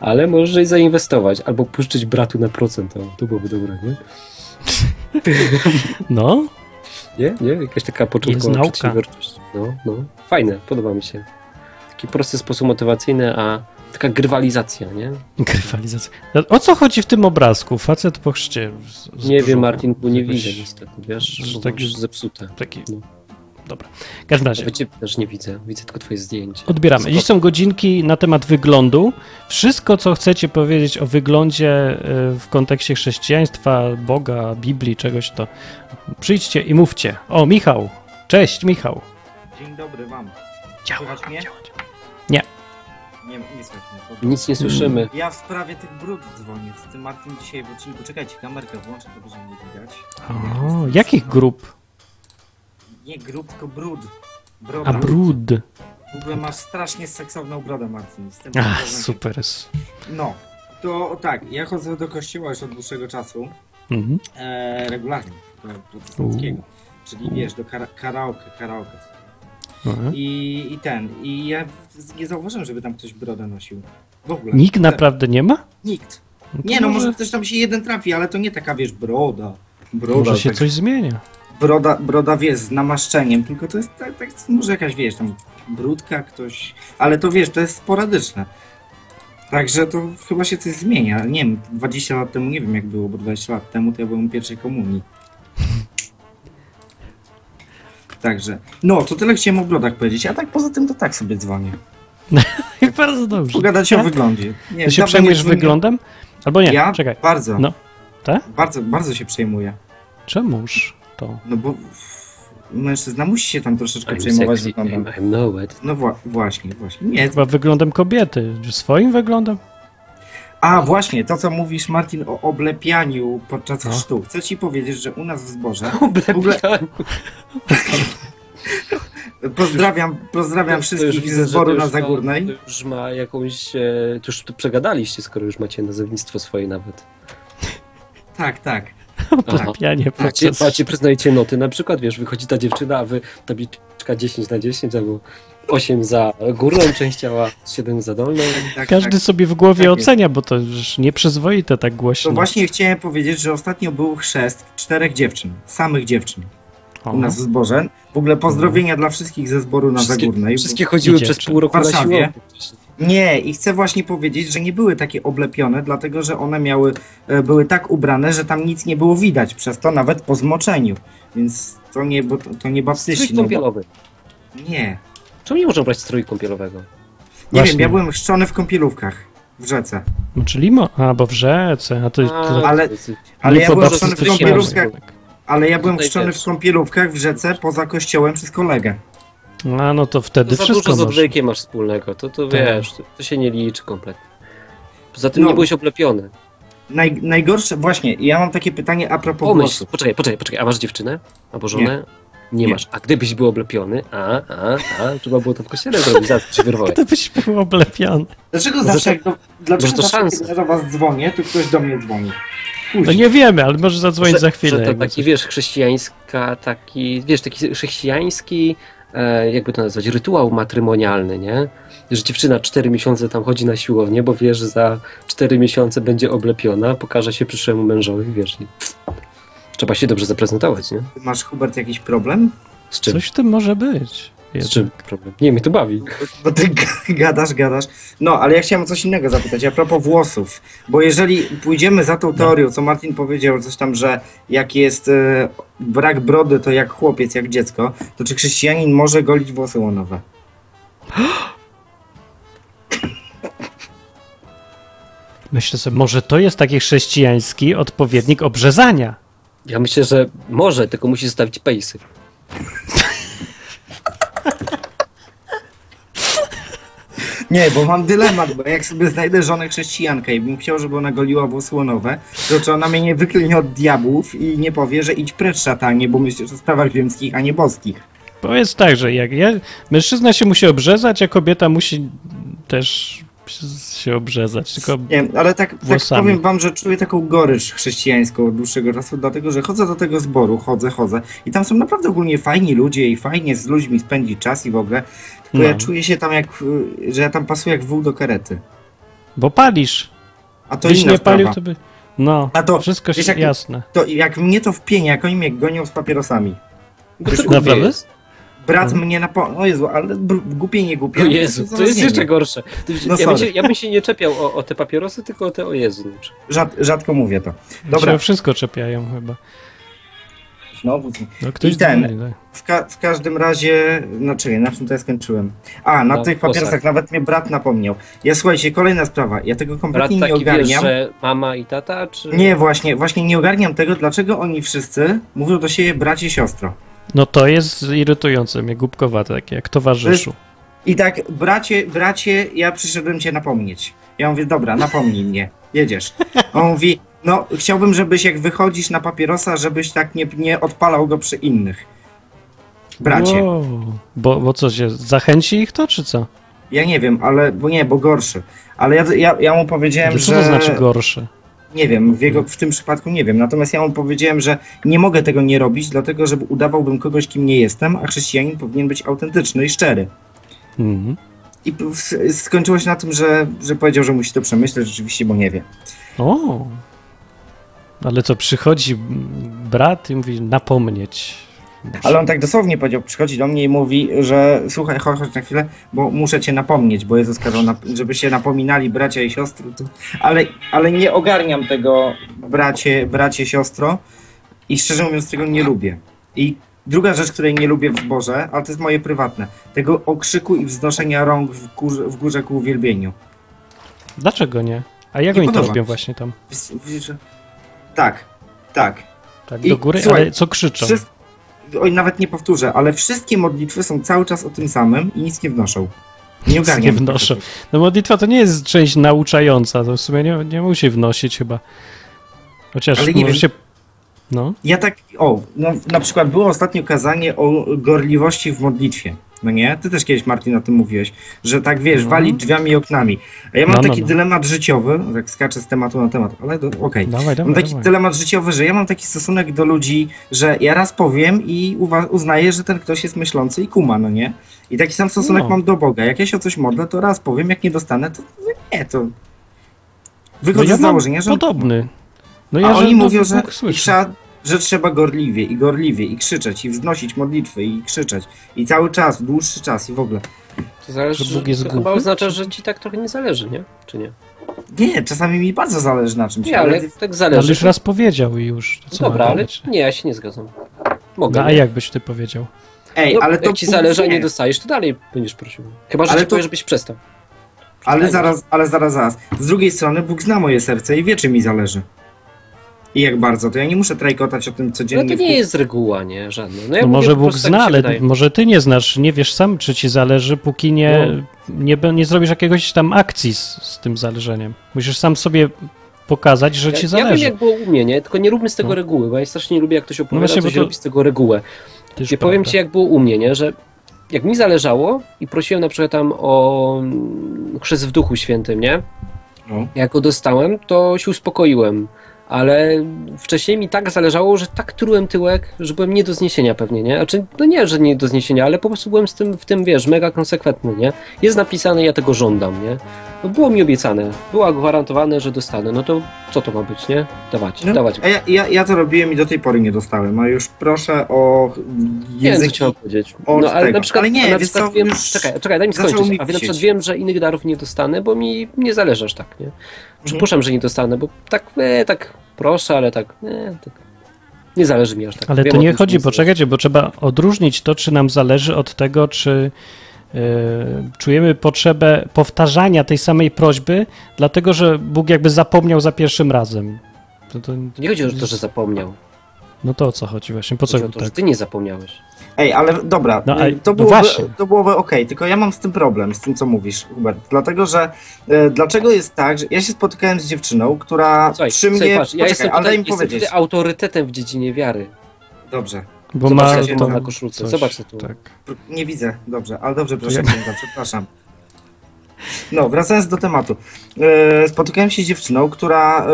Speaker 2: Ale możesz je zainwestować albo puszczyć bratu na procent. O, to byłoby dobre, nie?
Speaker 1: No,
Speaker 2: Nie? Nie? Jakaś taka początkowa
Speaker 1: nauka.
Speaker 2: przedsiębiorczość. No, no. Fajne, podoba mi się. Taki prosty sposób motywacyjny, a taka grywalizacja, nie?
Speaker 1: grywalizacja. No, O co chodzi w tym obrazku? Facet po chrzcie. Z, z
Speaker 2: Nie
Speaker 1: brzucha.
Speaker 2: wiem, Martin, bo nie
Speaker 1: Jakoś
Speaker 2: widzę niestety, wiesz,
Speaker 1: że
Speaker 2: bo
Speaker 1: tak-
Speaker 2: tak już zepsute.
Speaker 1: Taki...
Speaker 2: No.
Speaker 1: Dobra. W każdym razie.
Speaker 2: Nawet cię też nie widzę, widzę tylko twoje zdjęcie.
Speaker 1: Odbieramy. Dziś są godzinki na temat wyglądu. Wszystko, co chcecie powiedzieć o wyglądzie y, w kontekście chrześcijaństwa, Boga, Biblii, czegoś, to przyjdźcie i mówcie. O, Michał! Cześć, Michał!
Speaker 8: Dzień dobry wam.
Speaker 1: Działa,
Speaker 8: Słychać mnie?
Speaker 1: Nie.
Speaker 8: Nie, nie słychać mnie. Dobra.
Speaker 2: Nic nie słyszymy.
Speaker 8: Ja w sprawie tych brud dzwonię. Z tym Martin dzisiaj w odcinku. Czekajcie, kamerkę włączę, to będzie mnie widać.
Speaker 1: O, jakich grup?
Speaker 8: Nie grób, tylko brud. Broda.
Speaker 1: A brud.
Speaker 8: W ogóle masz strasznie seksowną brodę, Martin. Z tym
Speaker 1: A,
Speaker 8: razem-
Speaker 1: super. jest.
Speaker 8: No. To tak, ja chodzę do kościoła już od dłuższego czasu.
Speaker 1: Mhm.
Speaker 8: E, regularnie. Do protestanckiego. Czyli wiesz, do kara- karaoke, karaoke.
Speaker 1: Aha.
Speaker 8: I, I ten. I ja w- nie zauważyłem, żeby tam ktoś brodę nosił. W ogóle.
Speaker 1: Nikt
Speaker 8: Tak.
Speaker 1: naprawdę nie ma?
Speaker 8: Nikt.
Speaker 1: to
Speaker 8: Nie no, może ktoś tam się jeden trafi, ale to nie taka, wiesz, broda. Broda,
Speaker 1: Może się
Speaker 8: tak,
Speaker 1: coś zmienia.
Speaker 8: broda, broda wiesz, z namaszczeniem, tylko to jest tak, tak, może jakaś, wiesz, tam brudka ktoś, ale to wiesz, to jest sporadyczne. Także to chyba się coś zmienia. Nie wiem, 20 lat temu, nie wiem jak było, bo 20 lat temu to ja byłem w pierwszej komunii. Także, no, to tyle chciałem o brodach powiedzieć, a tak poza tym to tak sobie dzwonię.
Speaker 1: Bardzo dobrze.
Speaker 8: Pogadać Tak. o wyglądzie. Nie,
Speaker 1: Tak? Ty się
Speaker 8: dawno
Speaker 1: przejmujesz
Speaker 8: dzwoniłem.
Speaker 1: wyglądem? Albo nie,
Speaker 8: Ja?
Speaker 1: czekaj.
Speaker 8: Bardzo.
Speaker 1: No. Tak?
Speaker 8: Bardzo, bardzo się przejmuję.
Speaker 1: Czemuż to?
Speaker 8: No bo mężczyzna musi się tam troszeczkę
Speaker 2: I'm
Speaker 8: przejmować
Speaker 2: sexy,
Speaker 8: wyglądem.
Speaker 2: I'm, I'm know it.
Speaker 8: No wła- właśnie, właśnie. Nie.
Speaker 1: Chyba wyglądem kobiety. Swoim wyglądem?
Speaker 8: A właśnie, to co mówisz Martin o oblepianiu podczas
Speaker 1: No.
Speaker 8: chrztu. Chcę ci powiedzieć, że u nas w zborze ogóle-
Speaker 2: Oblepiam.
Speaker 8: pozdrawiam, pozdrawiam
Speaker 2: To już
Speaker 8: wszystkich
Speaker 2: widzę,
Speaker 8: ze
Speaker 2: że
Speaker 8: zboru
Speaker 2: to
Speaker 8: na
Speaker 2: już-
Speaker 8: Zagórnej.
Speaker 2: to Już ma jakąś. e, To już to przegadaliście, skoro już macie nazewnictwo swoje nawet.
Speaker 8: Tak, tak.
Speaker 2: Aha.
Speaker 1: Pijanie
Speaker 8: Znaczy,
Speaker 2: Macie,
Speaker 1: proces.
Speaker 2: macie, przyznajcie noty, na przykład, wiesz, wychodzi ta dziewczyna, a wy tabliczka 10 na 10, albo 8 za górną część ciała, 7 za dolną.
Speaker 8: tak,
Speaker 1: Każdy
Speaker 8: tak.
Speaker 1: sobie w głowie
Speaker 8: Tak jest.
Speaker 1: ocenia, bo to już nieprzyzwoite tak głośno.
Speaker 8: To właśnie chciałem powiedzieć, że ostatnio był chrzest czterech dziewczyn, samych dziewczyn
Speaker 1: O,
Speaker 8: u nas w zborze. W ogóle pozdrowienia dla wszystkich ze zboru na Zagórnej. bo-
Speaker 2: wszystkie chodziły
Speaker 1: Idzie
Speaker 2: przez
Speaker 1: jeszcze.
Speaker 2: pół roku na
Speaker 8: Warszawie.
Speaker 2: siłownię.
Speaker 8: Nie, i chcę właśnie powiedzieć, że nie były takie oblepione, dlatego że one miały, e, były tak ubrane, że tam nic nie było widać, przez to nawet po zmoczeniu. Więc to nie, bo to, to nie baptyści.
Speaker 2: Strój
Speaker 8: No, bo,
Speaker 2: kąpielowy.
Speaker 8: nie.
Speaker 2: Czemu nie można brać strój kąpielowego?
Speaker 8: Nie
Speaker 1: Właśnie.
Speaker 8: wiem, ja byłem chrzczony w kąpielówkach w rzece.
Speaker 1: No, czyli mo... A, bo w rzece. A to, to...
Speaker 8: ale- Ale
Speaker 1: nie
Speaker 8: ja
Speaker 1: po
Speaker 8: byłem
Speaker 1: babce
Speaker 8: chrzczony w
Speaker 1: strysiały.
Speaker 8: kąpielówkach, ale ja byłem
Speaker 2: Tutaj
Speaker 8: chrzczony
Speaker 2: też.
Speaker 8: w kąpielówkach w rzece poza kościołem przez kolegę.
Speaker 1: A, no to
Speaker 2: To
Speaker 1: wtedy
Speaker 2: za
Speaker 1: wszystko
Speaker 2: dużo z
Speaker 1: można.
Speaker 2: odwykiem masz wspólnego, to, to
Speaker 1: Tak.
Speaker 2: wiesz, to, to się nie liczy kompletnie. Poza tym
Speaker 8: No.
Speaker 2: nie byłeś oblepiony.
Speaker 8: Naj, najgorsze, właśnie, ja mam takie pytanie a propos
Speaker 2: Pomyśl,
Speaker 8: głosu.
Speaker 2: poczekaj, poczekaj, poczekaj, a masz dziewczynę? Albo żonę? Nie,
Speaker 8: Nie.
Speaker 2: masz. A gdybyś był oblepiony, a, a, a, trzeba było to w kościele zrobić, zaraz się wyrwałem.
Speaker 1: Gdybyś był oblepiony.
Speaker 8: Dlaczego zawsze, jak do, dlaczego
Speaker 2: to
Speaker 8: zawsze
Speaker 2: szansa.
Speaker 8: kiedy ja do was dzwonię, to ktoś do mnie dzwoni?
Speaker 1: No nie wiemy, ale może zadzwonić za chwilę.
Speaker 2: Że to
Speaker 1: jakby
Speaker 2: taki,
Speaker 1: coś.
Speaker 2: wiesz, chrześcijańska, taki, wiesz, taki chrześcijański, e, jakby to nazwać, rytuał matrymonialny, nie? Że dziewczyna cztery miesiące tam chodzi na siłownię, bo wiesz, że za cztery miesiące będzie oblepiona, pokaże się przyszłemu mężowi, wiesz. I trzeba się dobrze zaprezentować, nie?
Speaker 8: Masz, Hubert, jakiś problem?
Speaker 2: Z czym?
Speaker 1: Coś w tym może być.
Speaker 2: Z czym problem? Nie, mnie to bawi.
Speaker 8: Bo ty g- gadasz, gadasz. No, ale ja chciałem o coś innego zapytać, a propos włosów. Bo jeżeli pójdziemy za tą teorią, co Martin powiedział, coś tam, że jak jest e, brak brody, to jak chłopiec, jak dziecko, to czy chrześcijanin może golić włosy łonowe?
Speaker 1: Myślę sobie, może to jest taki chrześcijański odpowiednik obrzezania.
Speaker 2: Ja myślę, że może, tylko musi zostawić pejsy.
Speaker 8: Nie, bo mam dylemat, bo jak sobie znajdę żonę chrześcijankę i bym chciał, żeby ona goliła włosy łonowe, to czy ona mnie nie wyklnie od diabłów i nie powie, że idź precz szatanie, bo myślisz o sprawach ziemskich, a nie boskich.
Speaker 1: Powiedz tak, że jak ja, mężczyzna się musi obrzezać, a kobieta musi też się obrzezać. Tylko
Speaker 8: Nie wiem, ale tak, tak
Speaker 1: Włosami.
Speaker 8: powiem wam, że czuję taką gorycz chrześcijańską od dłuższego czasu, dlatego że chodzę do tego zboru, chodzę, chodzę i tam są naprawdę ogólnie fajni ludzie i fajnie z ludźmi spędzi czas i w ogóle, tylko
Speaker 1: No.
Speaker 8: ja czuję się tam jak, y, że ja tam pasuję jak wół do karety.
Speaker 1: Bo palisz.
Speaker 8: A to
Speaker 1: Byś
Speaker 8: inna
Speaker 1: nie palił,
Speaker 8: sprawa.
Speaker 1: to by. No,
Speaker 8: A to,
Speaker 1: wszystko
Speaker 8: wiesz,
Speaker 1: się
Speaker 8: jak-
Speaker 1: jasne.
Speaker 8: to jak mnie to wpienia, jak oni mnie gonią z papierosami.
Speaker 2: Bo to głupie
Speaker 1: Naprawdę?
Speaker 2: jest.
Speaker 8: Brat
Speaker 1: Mhm.
Speaker 8: mnie na po... O Jezu, ale br- głupie nie głupie.
Speaker 2: O
Speaker 8: ale
Speaker 2: Jezu,
Speaker 8: są
Speaker 2: to jest
Speaker 8: zarobieni.
Speaker 2: jeszcze gorsze. Ty-
Speaker 8: No
Speaker 2: Ja bym, się,
Speaker 8: sorry.
Speaker 2: ja bym się nie czepiał o, o te papierosy, tylko o te o Jezu.
Speaker 8: Rzad, rzadko mówię to.
Speaker 1: Dobra.
Speaker 8: Dobra.
Speaker 1: Się o wszystko czepiają chyba.
Speaker 8: Znowu.
Speaker 1: No, ktoś
Speaker 8: I ten.
Speaker 1: dzwoni, tak.
Speaker 8: W, ka- w każdym razie, no czekaj, na czym to ja skończyłem? A, na
Speaker 2: Na
Speaker 8: tych
Speaker 2: włosach.
Speaker 8: papierosach, nawet mnie brat napomniał. Ja słuchajcie, kolejna sprawa, ja tego
Speaker 2: Brat
Speaker 8: kompletnie nie
Speaker 2: taki wiesz,
Speaker 8: ogarniam.
Speaker 2: że mama i tata, czy...
Speaker 8: Nie, właśnie, właśnie nie ogarniam tego, dlaczego oni wszyscy mówią do siebie bracie, siostro.
Speaker 1: no to jest irytujące mnie, głupkowate takie, jak towarzyszu.
Speaker 8: I tak, bracie, bracie, ja przyszedłem cię napomnieć. Ja mówię, dobra, napomnij mnie, jedziesz. On mówi, no chciałbym, żebyś jak wychodzisz na papierosa, żebyś tak nie, nie odpalał go przy innych. Bracie.
Speaker 1: Wow. Bo, bo co się, zachęci ich to, czy co?
Speaker 8: Ja nie wiem, ale, bo nie, bo gorszy. Ale ja, ja, ja mu powiedziałem,
Speaker 1: co
Speaker 8: że...
Speaker 1: to znaczy gorszy?
Speaker 8: Nie wiem, w, jego, w tym przypadku nie wiem. Natomiast ja mu powiedziałem, że nie mogę tego nie robić, dlatego że udawałbym kogoś, kim nie jestem, a chrześcijanin powinien być autentyczny i szczery.
Speaker 1: Mhm.
Speaker 8: I p- s- skończyło się na tym, że, że powiedział, że musi to przemyśleć rzeczywiście, bo nie wie.
Speaker 1: O. Ale co, przychodzi brat i mówi napomnieć.
Speaker 8: Ale on tak dosłownie powiedział, przychodzi do mnie i mówi, że słuchaj, chodź, chodź na chwilę, bo muszę cię napomnieć, bo Jezus kazał, nap- żeby się napominali bracia i siostry. To... Ale, ale nie ogarniam tego bracie, bracie, siostro i szczerze mówiąc tego nie lubię. I druga rzecz, której nie lubię w zborze, ale to jest moje prywatne, tego okrzyku i wznoszenia rąk w górze, w górze ku uwielbieniu.
Speaker 1: Dlaczego nie? A jak
Speaker 8: Nie
Speaker 1: oni to
Speaker 8: podoba
Speaker 1: robią
Speaker 8: mi się.
Speaker 1: właśnie tam?
Speaker 8: Wiesz- wiesz, że- Tak, tak.
Speaker 1: Tak
Speaker 8: I
Speaker 1: do góry,
Speaker 8: słuchaj,
Speaker 1: ale co krzyczą?
Speaker 8: Wszystko, oj, nawet nie powtórzę, ale wszystkie modlitwy są cały czas o tym samym i nic nie wnoszą. Nie
Speaker 1: Nic
Speaker 8: ogarniam.
Speaker 1: nie wnoszą. No modlitwa to nie jest część nauczająca, to w sumie nie, nie musi wnosić chyba. Chociaż
Speaker 8: Ale nie
Speaker 1: może
Speaker 8: wiem.
Speaker 1: się... No,
Speaker 8: Ja tak, o, no, na przykład było ostatnio kazanie o gorliwości w modlitwie. No nie? Ty też kiedyś, Martin, o tym mówiłeś, że tak wiesz,
Speaker 1: No.
Speaker 8: walić drzwiami i oknami. A ja mam
Speaker 1: No, no,
Speaker 8: taki
Speaker 1: no.
Speaker 8: dylemat życiowy, tak skaczę z tematu na temat, ale do- okej.
Speaker 1: dawaj,
Speaker 8: Mam
Speaker 1: dawaj,
Speaker 8: taki
Speaker 1: dawaj.
Speaker 8: dylemat życiowy, że ja mam taki stosunek do ludzi, że ja raz powiem i uwa- uznaję, że ten ktoś jest myślący i kuma, no nie? I taki sam stosunek
Speaker 1: No.
Speaker 8: mam do Boga. Jak ja się o coś modlę, to raz powiem, jak nie dostanę, to nie, to...
Speaker 1: No
Speaker 8: Wychodzę
Speaker 1: ja
Speaker 8: z
Speaker 1: mam
Speaker 8: założenia, że...
Speaker 1: podobny. No
Speaker 8: A oni
Speaker 1: no,
Speaker 8: mówią, że,
Speaker 1: Bóg
Speaker 8: i
Speaker 1: słyszy.
Speaker 8: trzeba, że trzeba gorliwie i gorliwie i krzyczeć i wznosić modlitwy i krzyczeć i cały czas, dłuższy czas i w ogóle.
Speaker 2: To zależy,
Speaker 1: Że Bóg jest
Speaker 2: to
Speaker 1: głupi?
Speaker 2: chyba oznacza, że ci tak trochę nie zależy, nie? Czy nie?
Speaker 8: Nie, czasami mi bardzo zależy na czymś.
Speaker 2: Nie, ale tak
Speaker 1: Ale
Speaker 2: zależy. No
Speaker 1: już raz powiedział i już. To co
Speaker 2: Dobra,
Speaker 1: mam
Speaker 2: ale
Speaker 1: powiedzieć?
Speaker 2: nie, ja się nie zgadzam. Mogę.
Speaker 1: No, a
Speaker 2: nie?
Speaker 1: jak byś ty powiedział?
Speaker 8: Ej,
Speaker 2: No,
Speaker 8: ale to
Speaker 2: jak ci
Speaker 8: Bóg
Speaker 2: zależy, a
Speaker 8: wie.
Speaker 2: nie dostajesz, to dalej będziesz prosił. Chyba, że
Speaker 8: Ale
Speaker 2: ci
Speaker 8: to-
Speaker 2: powie, żebyś przestał.
Speaker 8: Ale
Speaker 2: Przynajmniej.
Speaker 8: zaraz, ale zaraz, zaraz. Z drugiej strony Bóg zna moje serce i wie, czy mi zależy. I jak bardzo, to ja nie muszę trajkotać o tym
Speaker 2: No
Speaker 8: codziennie.
Speaker 2: to
Speaker 8: w
Speaker 2: nie jest reguła, nie? Żadna. ja
Speaker 1: No
Speaker 2: mówię,
Speaker 1: może
Speaker 2: po
Speaker 1: Bóg
Speaker 2: prostu tak mi
Speaker 1: zna,
Speaker 2: się
Speaker 1: ale
Speaker 2: wydaje.
Speaker 1: może ty nie znasz, nie wiesz sam, czy ci zależy, póki nie,
Speaker 2: No.
Speaker 1: nie, be- nie zrobisz jakiegoś tam akcji z, z tym zależeniem. Musisz sam sobie pokazać, że ci
Speaker 2: Ja, ja wiem,
Speaker 1: zależy.
Speaker 2: jak było u mnie, nie? Tylko nie róbmy z tego
Speaker 1: No.
Speaker 2: reguły, bo ja strasznie nie lubię, jak ktoś opowiada,
Speaker 1: właśnie, bo
Speaker 2: coś
Speaker 1: to-
Speaker 2: robi z tego regułę.
Speaker 1: Też
Speaker 2: Nie powiem
Speaker 1: prawda.
Speaker 2: ci, jak było u mnie, nie? Że jak mi zależało i prosiłem na przykład tam o mm, chrzest w Duchu Świętym, nie?
Speaker 8: No.
Speaker 2: Jak go dostałem, to się uspokoiłem. Ale wcześniej mi tak zależało, że tak trułem tyłek, że byłem nie do zniesienia pewnie, nie? Znaczy, no nie, że nie do zniesienia, ale po prostu byłem z tym, w tym, wiesz, mega konsekwentny, nie? Jest napisane, ja tego żądam, nie? No było mi obiecane, było gwarantowane, że dostanę. No to co to ma być, nie? Dawać,
Speaker 8: No,
Speaker 2: dawać.
Speaker 8: A ja, ja, ja to robiłem i do tej pory nie dostałem, a już proszę o
Speaker 2: Nie wiem, co
Speaker 8: języki
Speaker 2: chciałem powiedzieć.
Speaker 8: od
Speaker 2: No, ale
Speaker 8: tego.
Speaker 2: na przykład,
Speaker 8: Ale nie,
Speaker 2: a na
Speaker 8: wiesz
Speaker 2: przykład
Speaker 8: co,
Speaker 2: wiem,
Speaker 8: już
Speaker 2: czekaj, czekaj, daj mi
Speaker 8: zaczął
Speaker 2: skończyć.
Speaker 8: mi
Speaker 2: A na przykład
Speaker 8: chcieć.
Speaker 2: wiem, że innych darów nie dostanę, bo mi nie zależy aż tak, nie? Przypuszczam, że nie dostanę, bo tak, e, tak proszę, ale tak, e, tak, nie zależy mi aż tak.
Speaker 1: Ale
Speaker 2: Wiem
Speaker 1: to
Speaker 2: o
Speaker 1: nie
Speaker 2: tym, że
Speaker 1: chodzi,
Speaker 2: zależy.
Speaker 1: poczekajcie, bo trzeba odróżnić to, czy nam zależy od tego, czy y, czujemy potrzebę powtarzania tej samej prośby, dlatego że Bóg jakby zapomniał za pierwszym razem. To, to,
Speaker 2: Nie chodzi o to, że zapomniał.
Speaker 1: no to o co chodzi właśnie? Po co
Speaker 2: Chodzi o to, że
Speaker 1: tak?
Speaker 2: ty nie zapomniałeś.
Speaker 8: Ej, ale dobra,
Speaker 1: No, a-
Speaker 8: y,
Speaker 1: no
Speaker 8: to, byłoby,
Speaker 1: właśnie.
Speaker 8: to byłoby okej, tylko ja mam z tym problem, z tym co mówisz, Hubert. Dlatego, że e, dlaczego jest tak, że ja się spotkałem z dziewczyną, która
Speaker 2: Słuchaj,
Speaker 8: przy mnie.
Speaker 2: słuchaj, patrz, ja
Speaker 8: Poczekaj,
Speaker 2: jestem
Speaker 8: ale
Speaker 2: tutaj,
Speaker 8: daj mi
Speaker 2: jestem
Speaker 8: powiedzieć.
Speaker 2: tutaj autorytetem w dziedzinie wiary.
Speaker 8: Dobrze.
Speaker 1: Bo
Speaker 2: Zobacz,
Speaker 8: ja tu
Speaker 1: tam
Speaker 8: mam
Speaker 2: na koszulce,
Speaker 1: coś,
Speaker 2: zobacz tu.
Speaker 1: Tak.
Speaker 8: Pr- Nie widzę, dobrze, ale dobrze, proszę księdza, przepraszam. No, wracając do tematu. E, Spotykałem się z dziewczyną, która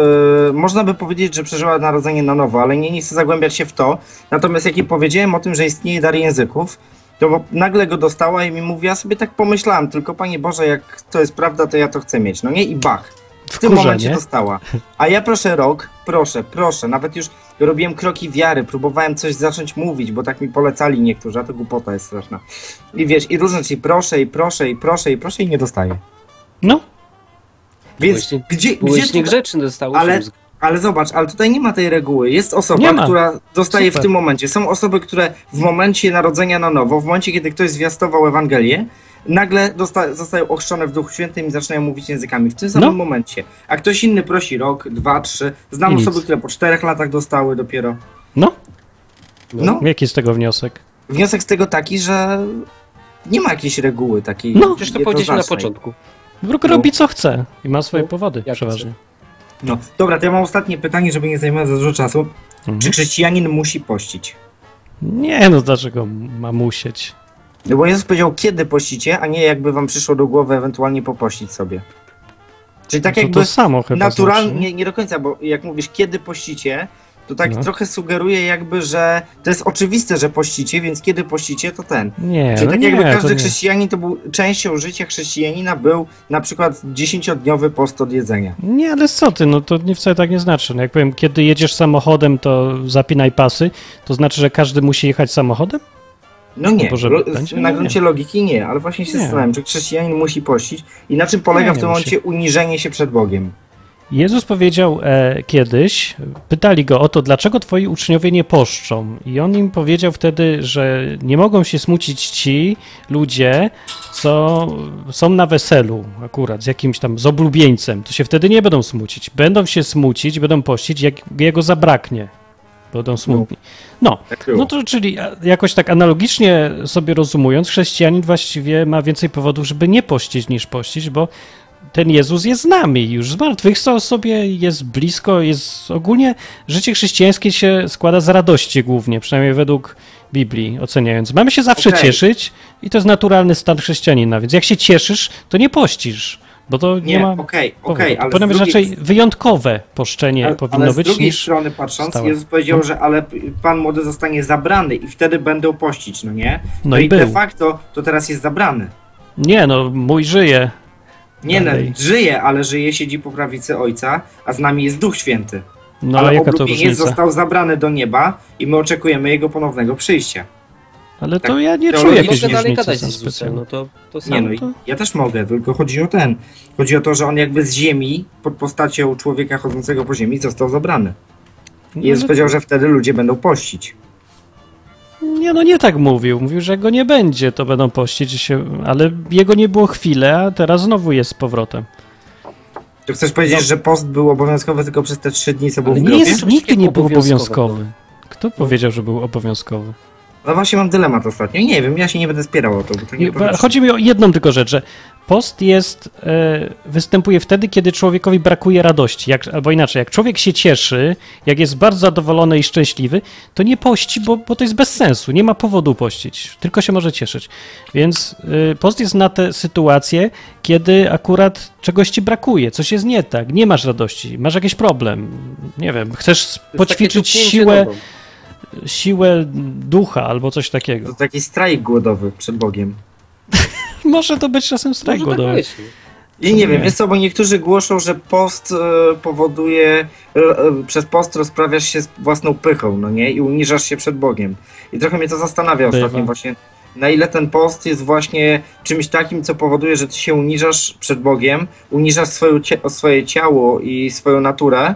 Speaker 8: e, można by powiedzieć, że przeżyła narodzenie na nowo, ale nie, nie chcę zagłębiać się w to. Natomiast jak jej powiedziałem o tym, że istnieje dar języków, to bo- nagle go dostała i mi mówi, ja sobie tak pomyślałem, tylko Panie Boże, jak to jest prawda, to ja to chcę mieć. No nie i bach. W tym
Speaker 1: Wkurzenie.
Speaker 8: momencie dostała. A ja proszę rok, proszę, proszę, nawet już robiłem kroki wiary, próbowałem coś zacząć mówić, bo tak mi polecali niektórzy, a to głupota jest straszna. I wiesz, i różne ci proszę, i proszę, i proszę, i proszę, i nie dostaję.
Speaker 1: No,
Speaker 8: Więc
Speaker 2: Byłeś nie-
Speaker 8: gdzie, gdzie
Speaker 2: Byłeś
Speaker 8: tutaj,
Speaker 2: niegrzeczny, dostałeś
Speaker 8: Ale-
Speaker 2: mózg.
Speaker 8: Ale zobacz, ale tutaj nie ma tej reguły. Jest
Speaker 1: Nie
Speaker 8: osoba,
Speaker 1: ma.
Speaker 8: która dostaje
Speaker 1: Super.
Speaker 8: w tym momencie. Są osoby, które w momencie narodzenia na nowo, w momencie, kiedy ktoś zwiastował Ewangelię, nagle dosta- zostają ochrzczone w Duchu Świętym i zaczynają mówić językami w tym samym
Speaker 1: No.
Speaker 8: momencie. A ktoś inny prosi rok, dwa, trzy. Znam
Speaker 1: I nic.
Speaker 8: osoby, które po czterech latach dostały dopiero.
Speaker 1: no,
Speaker 8: No,
Speaker 1: jaki jest tego wniosek?
Speaker 8: wniosek z tego taki, że nie ma jakiejś reguły takiej.
Speaker 1: No.
Speaker 2: Przecież to powiedzieliśmy na
Speaker 8: jednoznacznej.
Speaker 2: początku.
Speaker 1: Bóg robi co chce i ma swoje
Speaker 2: No,
Speaker 1: powody
Speaker 2: jak
Speaker 1: przeważnie.
Speaker 8: No. Dobra, to ja mam ostatnie pytanie, żeby nie zajmować za dużo czasu. Czy
Speaker 1: Mhm.
Speaker 8: chrześcijanin musi pościć?
Speaker 1: Nie, no dlaczego ma musieć?
Speaker 8: No bo Jezus powiedział, kiedy pościcie, a nie jakby wam przyszło do głowy ewentualnie popościć sobie. Czyli tak
Speaker 1: No to,
Speaker 8: jakby
Speaker 1: to samo chyba
Speaker 8: naturalnie,
Speaker 1: znaczy.
Speaker 8: nie, nie do końca, bo jak mówisz, kiedy pościcie, to tak
Speaker 1: No.
Speaker 8: trochę sugeruje jakby, że to jest oczywiste, że pościcie, więc kiedy pościcie, to ten.
Speaker 1: Nie,
Speaker 8: Czyli
Speaker 1: no
Speaker 8: tak
Speaker 1: nie,
Speaker 8: jakby
Speaker 1: to
Speaker 8: każdy
Speaker 1: nie.
Speaker 8: chrześcijanin to był, częścią życia chrześcijanina był na przykład 10-dniowy post od jedzenia.
Speaker 1: Nie, ale co ty, no to nie wcale tak nie znaczy. No jak powiem, kiedy jedziesz samochodem, to zapinaj pasy, to znaczy, że każdy musi jechać samochodem?
Speaker 8: No nie,
Speaker 1: Boże,
Speaker 8: lo,
Speaker 1: będzie?
Speaker 8: na
Speaker 1: No
Speaker 8: gruncie logiki nie, ale właśnie się
Speaker 1: Nie.
Speaker 8: zastanawiam, czy chrześcijanin musi pościć i na czym polega
Speaker 1: Nie,
Speaker 8: w
Speaker 1: nie
Speaker 8: tym
Speaker 1: musi.
Speaker 8: momencie uniżenie się przed Bogiem.
Speaker 1: Jezus powiedział e, kiedyś, pytali go o to, dlaczego twoi uczniowie nie poszczą. I on im powiedział wtedy, że nie mogą się smucić ci ludzie, co są na weselu akurat z jakimś tam, z oblubieńcem. To się wtedy nie będą smucić. Będą się smucić, będą pościć, jak jego zabraknie. Będą smutni. No, no to czyli a, jakoś tak analogicznie sobie rozumując, chrześcijanin właściwie ma więcej powodów, żeby nie pościć niż pościć, bo ten Jezus jest z nami, już zmartwychwstał sobie, jest blisko, jest ogólnie życie chrześcijańskie się składa z radości głównie, przynajmniej według Biblii oceniając. Mamy się zawsze
Speaker 8: Okej.
Speaker 1: cieszyć i to jest naturalny stan chrześcijanina, więc jak się cieszysz, to nie pościsz, bo to nie,
Speaker 8: Nie,
Speaker 1: ma...
Speaker 8: okej, okej,
Speaker 1: powodu.
Speaker 8: ale
Speaker 1: Powinno
Speaker 8: z
Speaker 1: być
Speaker 8: drugiej-
Speaker 1: raczej wyjątkowe poszczenie
Speaker 8: Ale-
Speaker 1: powinno
Speaker 8: ale
Speaker 1: być
Speaker 8: z drugiej
Speaker 1: niż...
Speaker 8: strony patrząc,
Speaker 1: stałe. No.
Speaker 8: Jezus powiedział, że ale pan młody zostanie zabrany i wtedy będą pościć, no nie?
Speaker 1: No i
Speaker 8: de
Speaker 1: był.
Speaker 8: facto to teraz jest zabrany.
Speaker 1: Nie no, mój żyje.
Speaker 8: Nie, no,
Speaker 1: Dalej.
Speaker 8: żyje, ale żyje, siedzi po prawicy Ojca, a z nami jest Duch Święty.
Speaker 1: No ale
Speaker 8: ale
Speaker 1: jaka to
Speaker 8: oblubieniec
Speaker 1: różnica?
Speaker 8: został zabrany do nieba i my oczekujemy jego ponownego przyjścia.
Speaker 1: Ale to
Speaker 8: tak
Speaker 1: ja nie czuję
Speaker 8: teologicznie.
Speaker 1: jakiejś
Speaker 2: Mogę dalej
Speaker 1: różnicy
Speaker 2: gadać z
Speaker 1: za
Speaker 2: Jezusem,
Speaker 1: specjalną.
Speaker 2: no to, to samo.
Speaker 8: Nie no, i
Speaker 1: to-
Speaker 8: ja też mogę, tylko chodzi o ten. Chodzi o to, że on jakby z ziemi, pod postacią człowieka chodzącego po ziemi, został zabrany. I Jezus
Speaker 1: No,
Speaker 8: powiedział, że wtedy ludzie będą pościć.
Speaker 1: Nie, no nie tak mówił. Mówił, że go nie będzie, to będą pościć się, ale jego nie było chwilę, a teraz znowu jest z powrotem.
Speaker 8: To chcesz powiedzieć, że post był obowiązkowy tylko przez te trzy dni, co był
Speaker 2: Ale
Speaker 8: w
Speaker 1: Nie
Speaker 8: grobie?
Speaker 2: Obowiązek
Speaker 1: jest, nigdy nie był
Speaker 2: obowiązkowy.
Speaker 1: obowiązkowy. Kto powiedział, że był obowiązkowy?
Speaker 8: No właśnie mam dylemat ostatnio. Nie wiem, ja się nie będę spierał o to, bo to nie
Speaker 1: Nie, bo Chodzi mi o jedną tylko rzecz, że post jest, e, występuje wtedy, kiedy człowiekowi brakuje radości, jak, albo inaczej, jak człowiek się cieszy, jak jest bardzo zadowolony i szczęśliwy, to nie pości, bo, bo to jest bez sensu, nie ma powodu pościć, tylko się może cieszyć. Więc e, post jest na te sytuacje, kiedy akurat czegoś ci brakuje, coś jest nie tak, nie masz radości, masz jakiś problem, nie wiem, chcesz
Speaker 2: To jest takie
Speaker 1: poćwiczyć
Speaker 2: tupnięcie
Speaker 1: siłę,
Speaker 2: nogą.
Speaker 1: siłę ducha albo coś takiego.
Speaker 8: To taki strajk głodowy przed Bogiem.
Speaker 1: Może to być czasem
Speaker 2: Może
Speaker 1: strajk
Speaker 2: tak
Speaker 1: głodowy.
Speaker 2: myśli.
Speaker 8: I nie wiem, wiesz co, bo niektórzy głoszą, że post e, powoduje, e, e, przez post rozprawiasz się z własną pychą, no nie? I uniżasz się przed Bogiem. I trochę mnie to zastanawia
Speaker 1: Bywa.
Speaker 8: ostatnio właśnie, na ile ten post jest właśnie czymś takim, co powoduje, że ty się uniżasz przed Bogiem, uniżasz swoje, cie- swoje ciało i swoją naturę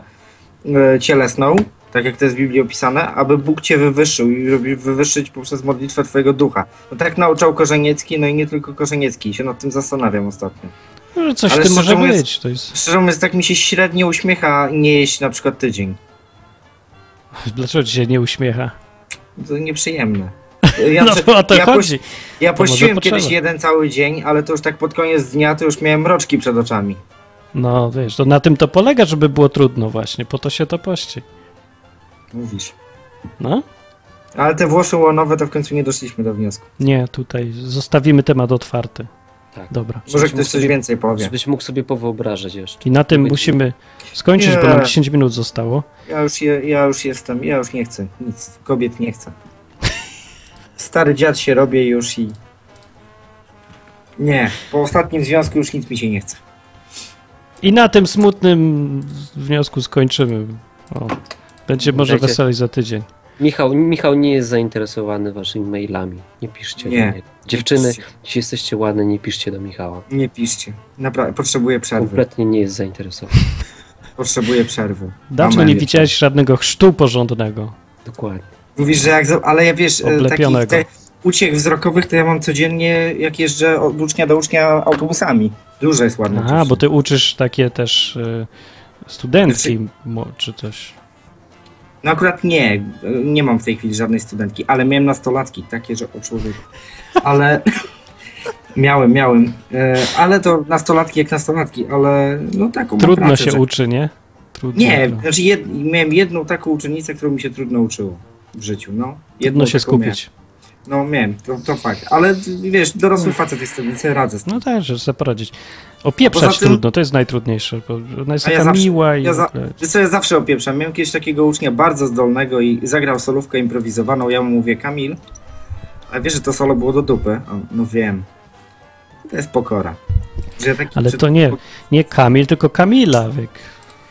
Speaker 8: e, cielesną, tak jak to jest w Biblii opisane, aby Bóg cię wywyższył i żeby wywyższyć poprzez modlitwę twojego ducha. No tak nauczał Korzeniecki, no i nie tylko Korzeniecki, się nad tym zastanawiam ostatnio.
Speaker 1: No, Coś
Speaker 8: Ale
Speaker 1: w tym
Speaker 8: szczerze
Speaker 1: może
Speaker 8: mówiąc-
Speaker 1: być. To jest...
Speaker 8: Szczerze mówiąc, tak mi się średnio uśmiecha nie jeść na przykład tydzień.
Speaker 1: Dlaczego ci się nie uśmiecha?
Speaker 8: To nieprzyjemne. Ja,
Speaker 1: no
Speaker 8: prze-
Speaker 1: to o to
Speaker 8: ja, poś-
Speaker 1: chodzi.
Speaker 8: ja
Speaker 1: To może
Speaker 8: pościłem
Speaker 1: potrzeba.
Speaker 8: kiedyś jeden cały dzień, ale to już tak pod koniec dnia to już miałem mroczki przed oczami.
Speaker 1: No wiesz, to na tym to polega, żeby było trudno właśnie, po to się to pości.
Speaker 8: Mówisz.
Speaker 1: No?
Speaker 8: Ale te Włosy łonowe to w końcu nie doszliśmy do wniosku.
Speaker 1: Nie, tutaj zostawimy temat otwarty.
Speaker 2: Tak.
Speaker 1: Dobra.
Speaker 8: Może
Speaker 2: Żebyś
Speaker 8: ktoś
Speaker 2: mógł
Speaker 8: coś
Speaker 2: sobie-
Speaker 8: więcej powie.
Speaker 2: Żebyś mógł sobie powyobrażać jeszcze.
Speaker 1: I na tym
Speaker 2: Będzie-
Speaker 1: musimy skończyć, bo
Speaker 8: Nie.
Speaker 1: nam 10 minut zostało.
Speaker 8: Ja już, je, ja już jestem, ja już nie chcę. Nic, kobiet nie chcę. Stary dziad się robię już i... Nie, po ostatnim związku już nic mi się nie chce.
Speaker 1: I na tym smutnym wniosku skończymy. O, będzie może
Speaker 2: Będzie-
Speaker 1: weselej za tydzień.
Speaker 2: Michał, Michał nie jest zainteresowany waszymi mailami. Nie piszcie
Speaker 8: Nie.
Speaker 2: do niego. Dziewczyny,
Speaker 8: Piszcie.
Speaker 2: jeśli jesteście ładne, nie piszcie do Michała.
Speaker 8: Nie piszcie. Naprawdę, potrzebuję przerwy.
Speaker 2: Kompletnie nie jest zainteresowany.
Speaker 8: Potrzebuję przerwy.
Speaker 1: Dawno
Speaker 8: Amen.
Speaker 1: nie widziałeś żadnego chrztu porządnego.
Speaker 2: Dokładnie.
Speaker 8: Mówisz, że jak. za- Ale ja wiesz, e, takich
Speaker 1: Oblepionego.
Speaker 8: te uciek wzrokowych to ja mam codziennie, jak jeżdżę od ucznia do ucznia autobusami. Dużo jest ładne.
Speaker 1: Aha, bo ty uczysz takie też y, studencki mo- czy coś.
Speaker 8: No akurat nie, e, nie mam w tej chwili żadnej studentki, ale miałem nastolatki, takie, że o człowieku. Ale. miałem, miałem. E, Ale to nastolatki jak nastolatki, ale no taką. mam
Speaker 1: Trudno
Speaker 8: pracę,
Speaker 1: się
Speaker 8: że...
Speaker 1: uczy, nie? Trudno,
Speaker 8: Nie,
Speaker 1: trudno.
Speaker 8: znaczy jed... miałem jedną taką uczennicę, którą mi się trudno uczyło w życiu. No, jedną
Speaker 1: trudno się
Speaker 8: taką miałem.
Speaker 1: skupić.
Speaker 8: No miałem, to, to fakt. Ale wiesz, dorosły facet jestem, więc sobie radzę z tym.
Speaker 1: No tak, że sobie poradzić. Opieprzać
Speaker 8: A poza tym-
Speaker 1: trudno, to jest najtrudniejsze, bo ona jest
Speaker 8: A ja
Speaker 1: taka
Speaker 8: zawsze-
Speaker 1: miła i
Speaker 8: ja
Speaker 1: ja
Speaker 8: za- Wiesz co, ja zawsze opieprzam. Miałem kiedyś takiego ucznia bardzo zdolnego i zagrał solówkę improwizowaną. Ja mu mówię, Kamil, a wiesz, że to solo było do dupy? A On, no wiem. To jest pokora. Że taki
Speaker 1: Ale
Speaker 8: czy-
Speaker 1: to nie, nie Kamil, tylko Kamila. Wiek.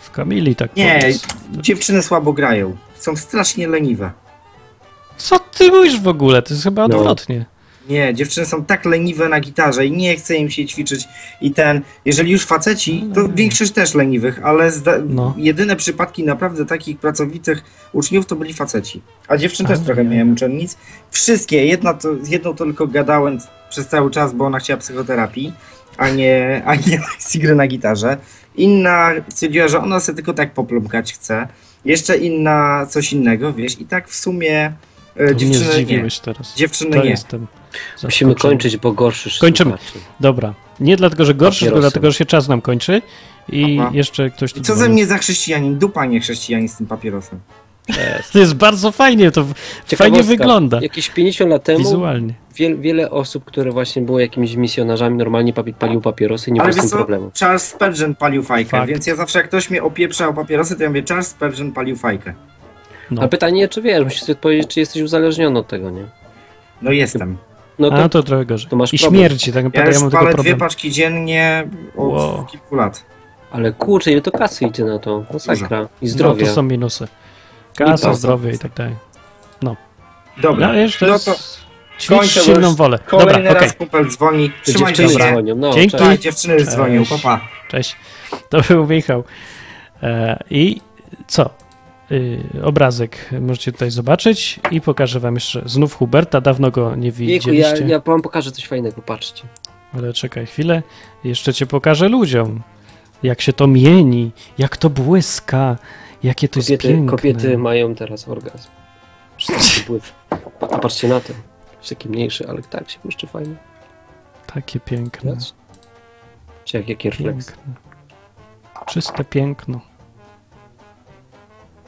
Speaker 1: W Kamili tak
Speaker 8: Nie.
Speaker 1: powiedz.
Speaker 8: Dziewczyny słabo grają. Są strasznie leniwe.
Speaker 1: Co ty mówisz w ogóle? To jest chyba
Speaker 2: No.
Speaker 1: odwrotnie.
Speaker 8: Nie, dziewczyny są tak leniwe na gitarze i nie chce im się ćwiczyć i ten, jeżeli już faceci, to większość też leniwych, ale zda-
Speaker 1: No.
Speaker 8: jedyne przypadki naprawdę takich pracowitych uczniów to byli faceci. A dziewczyn
Speaker 1: A,
Speaker 8: też trochę
Speaker 1: nie.
Speaker 8: miałem uczennic. Wszystkie, jedna to, z jedną to tylko gadałem przez cały czas, bo ona chciała psychoterapii, a nie, a nie z gry na gitarze. Inna stwierdziła, że ona sobie tylko tak poplumkać chce. Jeszcze inna coś innego, wiesz, i tak w sumie e,
Speaker 1: To mnie
Speaker 8: dziewczyny nie.
Speaker 1: zdziwiłeś teraz.
Speaker 8: Dziewczyny
Speaker 1: To
Speaker 8: nie.
Speaker 1: jestem.
Speaker 2: Musimy
Speaker 1: zaskoczony.
Speaker 2: kończyć, bo gorszysz.
Speaker 1: Kończymy.
Speaker 2: słuchaczy.
Speaker 1: Dobra. Nie dlatego, że gorszy, tylko
Speaker 2: Papierosem.
Speaker 1: dlatego, że się czas nam kończy. I
Speaker 8: Aha.
Speaker 1: jeszcze ktoś tu
Speaker 8: I co ze
Speaker 1: dzwoni.
Speaker 8: mnie za chrześcijanin? Dupa nie chrześcijanin z tym papierosem.
Speaker 1: To jest bardzo fajnie, to w- fajnie
Speaker 2: Ciekawostka.
Speaker 1: wygląda.
Speaker 2: Jakieś 50 lat temu
Speaker 1: Wizualnie.
Speaker 2: wiel, wiele osób, które właśnie było jakimiś misjonarzami, normalnie papi, palił papierosy, nie
Speaker 8: Ale
Speaker 2: było z
Speaker 8: wiesz
Speaker 2: tym
Speaker 8: co?
Speaker 2: problemu.
Speaker 8: Charles Spurgeon palił fajkę,
Speaker 1: Fakt.
Speaker 8: więc ja zawsze jak ktoś mnie opieprza o papierosy, to ja mówię Charles Spurgeon palił fajkę.
Speaker 1: No.
Speaker 2: A pytanie, czy wiesz, musisz sobie odpowiedzieć, czy jesteś uzależniony od tego, nie?
Speaker 8: No jestem.
Speaker 2: No to,
Speaker 1: A to trochę gorzej.
Speaker 2: to masz
Speaker 1: I
Speaker 2: problem.
Speaker 1: śmierci, tak
Speaker 8: Ja
Speaker 1: naprawdę ja
Speaker 8: już
Speaker 1: mam
Speaker 8: palę
Speaker 1: tylko
Speaker 8: dwie
Speaker 1: problem.
Speaker 8: paczki dziennie od
Speaker 1: Wow.
Speaker 8: kilku lat.
Speaker 2: ale kurczę, ile to kasy idzie na to?
Speaker 8: No
Speaker 2: Masakra. I zdrowie.
Speaker 1: No, to są minusy.
Speaker 2: I
Speaker 1: Kasa,
Speaker 2: to-
Speaker 1: zdrowie i tak dalej.
Speaker 8: Dobra,
Speaker 1: No, wiesz, to
Speaker 8: no
Speaker 1: jest...
Speaker 8: to
Speaker 1: Ćwicz
Speaker 8: kończę, bo
Speaker 1: silną
Speaker 8: już
Speaker 1: wolę. Dobra,
Speaker 8: kolejny
Speaker 1: okej,
Speaker 8: raz kumpel dzwoni.
Speaker 2: Te
Speaker 8: Trzymajcie
Speaker 2: dziewczyny
Speaker 8: się.
Speaker 2: dzwonią. No,
Speaker 1: Dzięki.
Speaker 2: cześć.
Speaker 8: Tak, dziewczyny już
Speaker 1: Cześć.
Speaker 8: dzwonią, papa.
Speaker 1: cześć. To był Michał. E, I co? Y, obrazek możecie tutaj zobaczyć i pokażę wam jeszcze znów Huberta, dawno go nie
Speaker 2: Jejku, ja,
Speaker 1: widzieliście,
Speaker 2: ja wam pokażę coś fajnego, patrzcie.
Speaker 1: ale czekaj chwilę, jeszcze cię pokażę ludziom, jak się to mieni, jak to błyska, jakie to jest
Speaker 2: Kobiety,
Speaker 1: piękne.
Speaker 2: kobiety mają teraz orgazm. Przypływ. Pa- A patrzcie na to. Jest taki mniejszy, ale tak się błyszczy fajnie.
Speaker 1: Takie piękne,
Speaker 2: Patrz. Czy jak, jaki refleks.
Speaker 1: No. piękne, czyste piękno.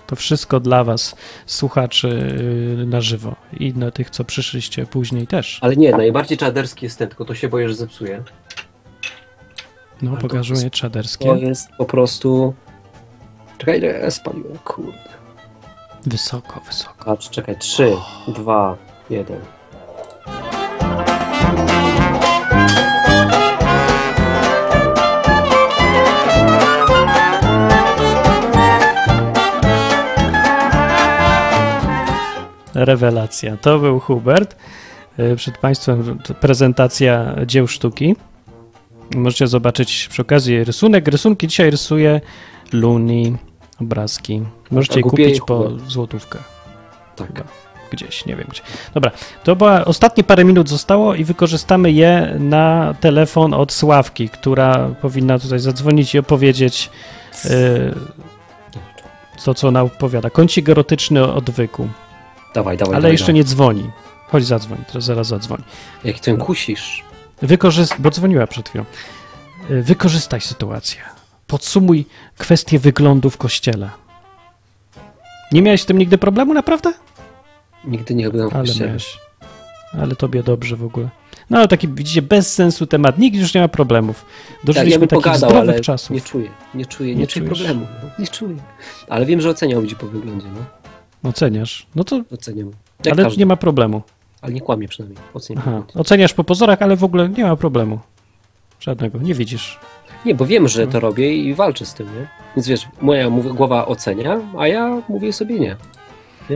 Speaker 1: To wszystko dla was, słuchaczy y, na żywo i dla tych, co przyszliście później też.
Speaker 2: Ale nie, najbardziej czaderski jest ten, tylko to się boję, że zepsuje.
Speaker 1: No,
Speaker 2: Ale to
Speaker 1: pokażę
Speaker 2: jest-
Speaker 1: je
Speaker 2: To
Speaker 1: czaderskie.
Speaker 2: jest po prostu... Czekaj, ile ja spaliłem? Kurde.
Speaker 1: Wysoko, wysoko.
Speaker 2: Patrz, czekaj. 3, 2, 1.
Speaker 1: Rewelacja. To był Hubert. Y, Przed Państwem prezentacja dzieł sztuki. Możecie zobaczyć przy okazji rysunek. Rysunki dzisiaj rysuje Luni, obrazki. Możecie je
Speaker 2: Tak, kupię
Speaker 1: kupić
Speaker 2: je,
Speaker 1: po
Speaker 2: Hubert.
Speaker 1: złotówkę.
Speaker 2: Tak.
Speaker 1: Gdzieś, nie wiem gdzie. Dobra, to była ostatnie parę minut zostało i wykorzystamy je na telefon od Sławki, która powinna tutaj zadzwonić i opowiedzieć y, to, co ona opowiada. Kącik erotyczny odwyku.
Speaker 2: Dawaj, dawaj.
Speaker 1: Ale
Speaker 2: dawaj,
Speaker 1: jeszcze nie dzwoni. Chodź zadzwoń, teraz zaraz zadzwoń.
Speaker 2: dawaj. Jak ten kusisz.
Speaker 1: Wykorzyst... Bo dzwoniła przed chwilą. Y, Wykorzystaj sytuację. Podsumuj kwestię wyglądu w kościele. Nie miałeś z tym nigdy problemu, naprawdę?
Speaker 2: Nigdy nie byłem w
Speaker 1: Ale
Speaker 2: kościele.
Speaker 1: miałeś. Ale tobie dobrze w ogóle. No ale taki, widzicie, bez sensu temat. Nikt już nie ma problemów.
Speaker 2: Tak, ja
Speaker 1: Dożyliśmy
Speaker 2: bym
Speaker 1: takich
Speaker 2: pogadał,
Speaker 1: zdrowych
Speaker 2: ale
Speaker 1: czasów.
Speaker 2: nie czuję, nie czuję, nie,
Speaker 1: Nie
Speaker 2: czuję
Speaker 1: czujesz.
Speaker 2: problemu. No, nie czuję. Ale wiem, że oceniam ludzi po wyglądzie, no.
Speaker 1: Oceniasz. No to,
Speaker 2: Oceniam. Jak
Speaker 1: ale
Speaker 2: ale,
Speaker 1: nie ma problemu.
Speaker 2: ale nie kłamie przynajmniej. Oceniam.
Speaker 1: Aha. Oceniasz po pozorach, ale w ogóle nie ma problemu. Żadnego. Nie widzisz.
Speaker 2: Nie, bo wiem, że to robię i walczę z tym, nie? Więc wiesz, moja mów- głowa ocenia, a ja mówię sobie nie.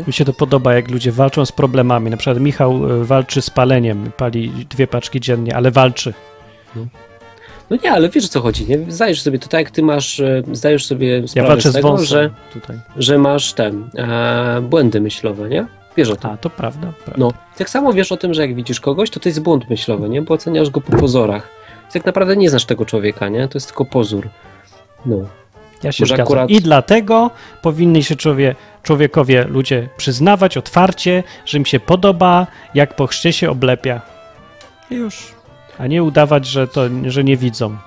Speaker 1: Mi się to podoba, jak ludzie walczą z problemami. Na przykład Michał y, walczy z paleniem, pali dwie paczki dziennie, ale walczy.
Speaker 2: No nie, ale wiesz o co chodzi, nie? Zdajesz sobie to tak, jak ty masz, e, zdajesz sobie
Speaker 1: Ja
Speaker 2: sprawę
Speaker 1: walczę
Speaker 2: z
Speaker 1: z
Speaker 2: tego,
Speaker 1: wąsem
Speaker 2: że,
Speaker 1: tutaj.
Speaker 2: że masz ten, e, błędy myślowe, nie? Wiesz o tym.
Speaker 1: A, to prawda. prawda.
Speaker 2: No, tak samo wiesz o tym, że jak widzisz kogoś, to to jest błąd myślowy, nie? Bo oceniasz go po pozorach. Więc tak naprawdę nie znasz tego człowieka, nie? To jest tylko pozór. No.
Speaker 1: Ja się
Speaker 2: Może
Speaker 1: zgadzam.
Speaker 2: akurat-
Speaker 1: I dlatego powinni się człowie, człowiekowie, ludzie przyznawać otwarcie, że im się podoba, jak po chrzcie się oblepia. I już. A nie udawać, że, to, że nie widzą.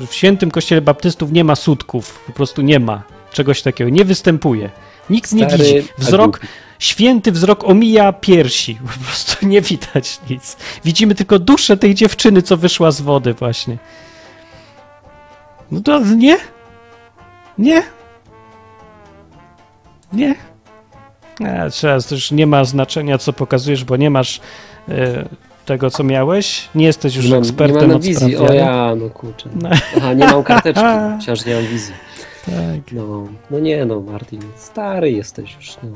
Speaker 1: Że W świętym kościele baptystów nie ma sutków. Po prostu nie ma. Czegoś takiego. Nie występuje. Nikt nie
Speaker 2: Stary,
Speaker 1: widzi.
Speaker 2: a
Speaker 1: Wzrok, święty wzrok omija piersi. Po prostu nie widać nic. Widzimy tylko duszę tej dziewczyny, co wyszła z wody właśnie. No to nie? Nie? Nie? A, teraz to już nie ma znaczenia, co pokazujesz, bo nie masz e, tego, co miałeś. Nie jesteś już
Speaker 2: nie mam, nie
Speaker 1: ekspertem
Speaker 2: mam
Speaker 1: od
Speaker 2: wizji. O
Speaker 1: sprawdzianu.
Speaker 2: ja, no kurczę. Aha, nie mam karteczki, chociaż nie mam wizji.
Speaker 1: Tak.
Speaker 2: No, no nie no, Martin, stary jesteś już, no.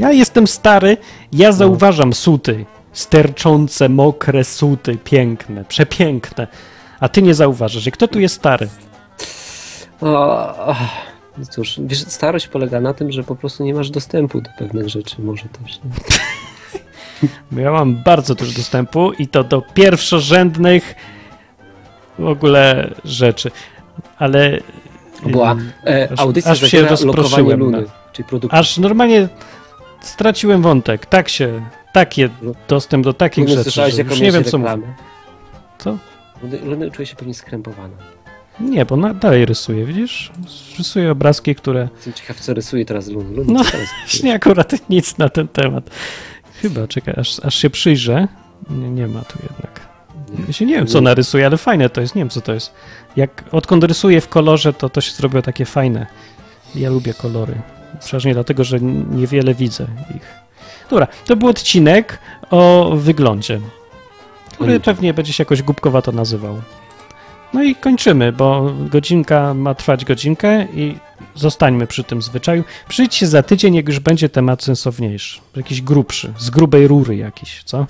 Speaker 1: Ja jestem stary, ja zauważam suty. Sterczące, mokre suty, piękne, przepiękne. A ty nie zauważasz. I kto tu jest stary?
Speaker 2: O, ach. No Cóż, wiesz, starość polega na tym, że po prostu nie masz dostępu do pewnych rzeczy, może też. Nie?
Speaker 1: Ja mam bardzo dużo dostępu i to do pierwszorzędnych w ogóle rzeczy. Ale. y,
Speaker 2: Była e,
Speaker 1: Aż-
Speaker 2: audycja
Speaker 1: aż się
Speaker 2: zawiera lokowanie
Speaker 1: rozproszyłem,
Speaker 2: luny,
Speaker 1: no.
Speaker 2: czyli produktu.
Speaker 1: Aż normalnie straciłem wątek. Tak się. Takie dostęp do takich
Speaker 2: Luny
Speaker 1: rzeczy.
Speaker 2: No. słyszałeś,
Speaker 1: że
Speaker 2: jaką
Speaker 1: już nie wiem, co mówię.
Speaker 2: reklamę.
Speaker 1: Co?
Speaker 2: Luny, Luny czuje się pewnie skrępowana.
Speaker 1: Nie, bo na, dalej rysuję, widzisz? Rysuję obrazki, które.
Speaker 2: Jestem ciekaw, co rysuje teraz Luny. Luny
Speaker 1: No.
Speaker 2: co teraz rysuje?
Speaker 1: Nie, akurat nic na ten temat. Chyba, czekaj, aż, aż się przyjrzę. Nie, nie ma tu jednak. Ja się nie wiem, co narysuję, ale fajne to jest. Nie wiem, co to jest. Jak odkąd rysuję w kolorze, to to się zrobiło takie fajne. Ja lubię kolory. Przeważnie dlatego, że n- niewiele widzę ich. Dobra, to był odcinek o wyglądzie, który pewnie będzie się jakoś głupkowato nazywał. No i kończymy, bo godzinka ma trwać godzinkę i zostańmy przy tym zwyczaju. Przyjdźcie za tydzień, jak już będzie temat sensowniejszy, jakiś grubszy, z grubej rury jakiś, co?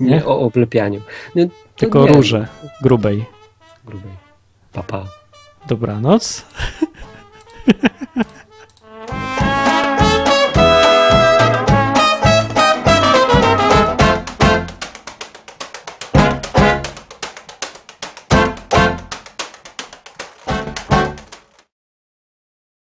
Speaker 2: nie. o oblepianiu. No, to
Speaker 1: Tylko
Speaker 2: nie.
Speaker 1: róże grubej.
Speaker 2: Grubej. Papa. Pa.
Speaker 1: Dobranoc.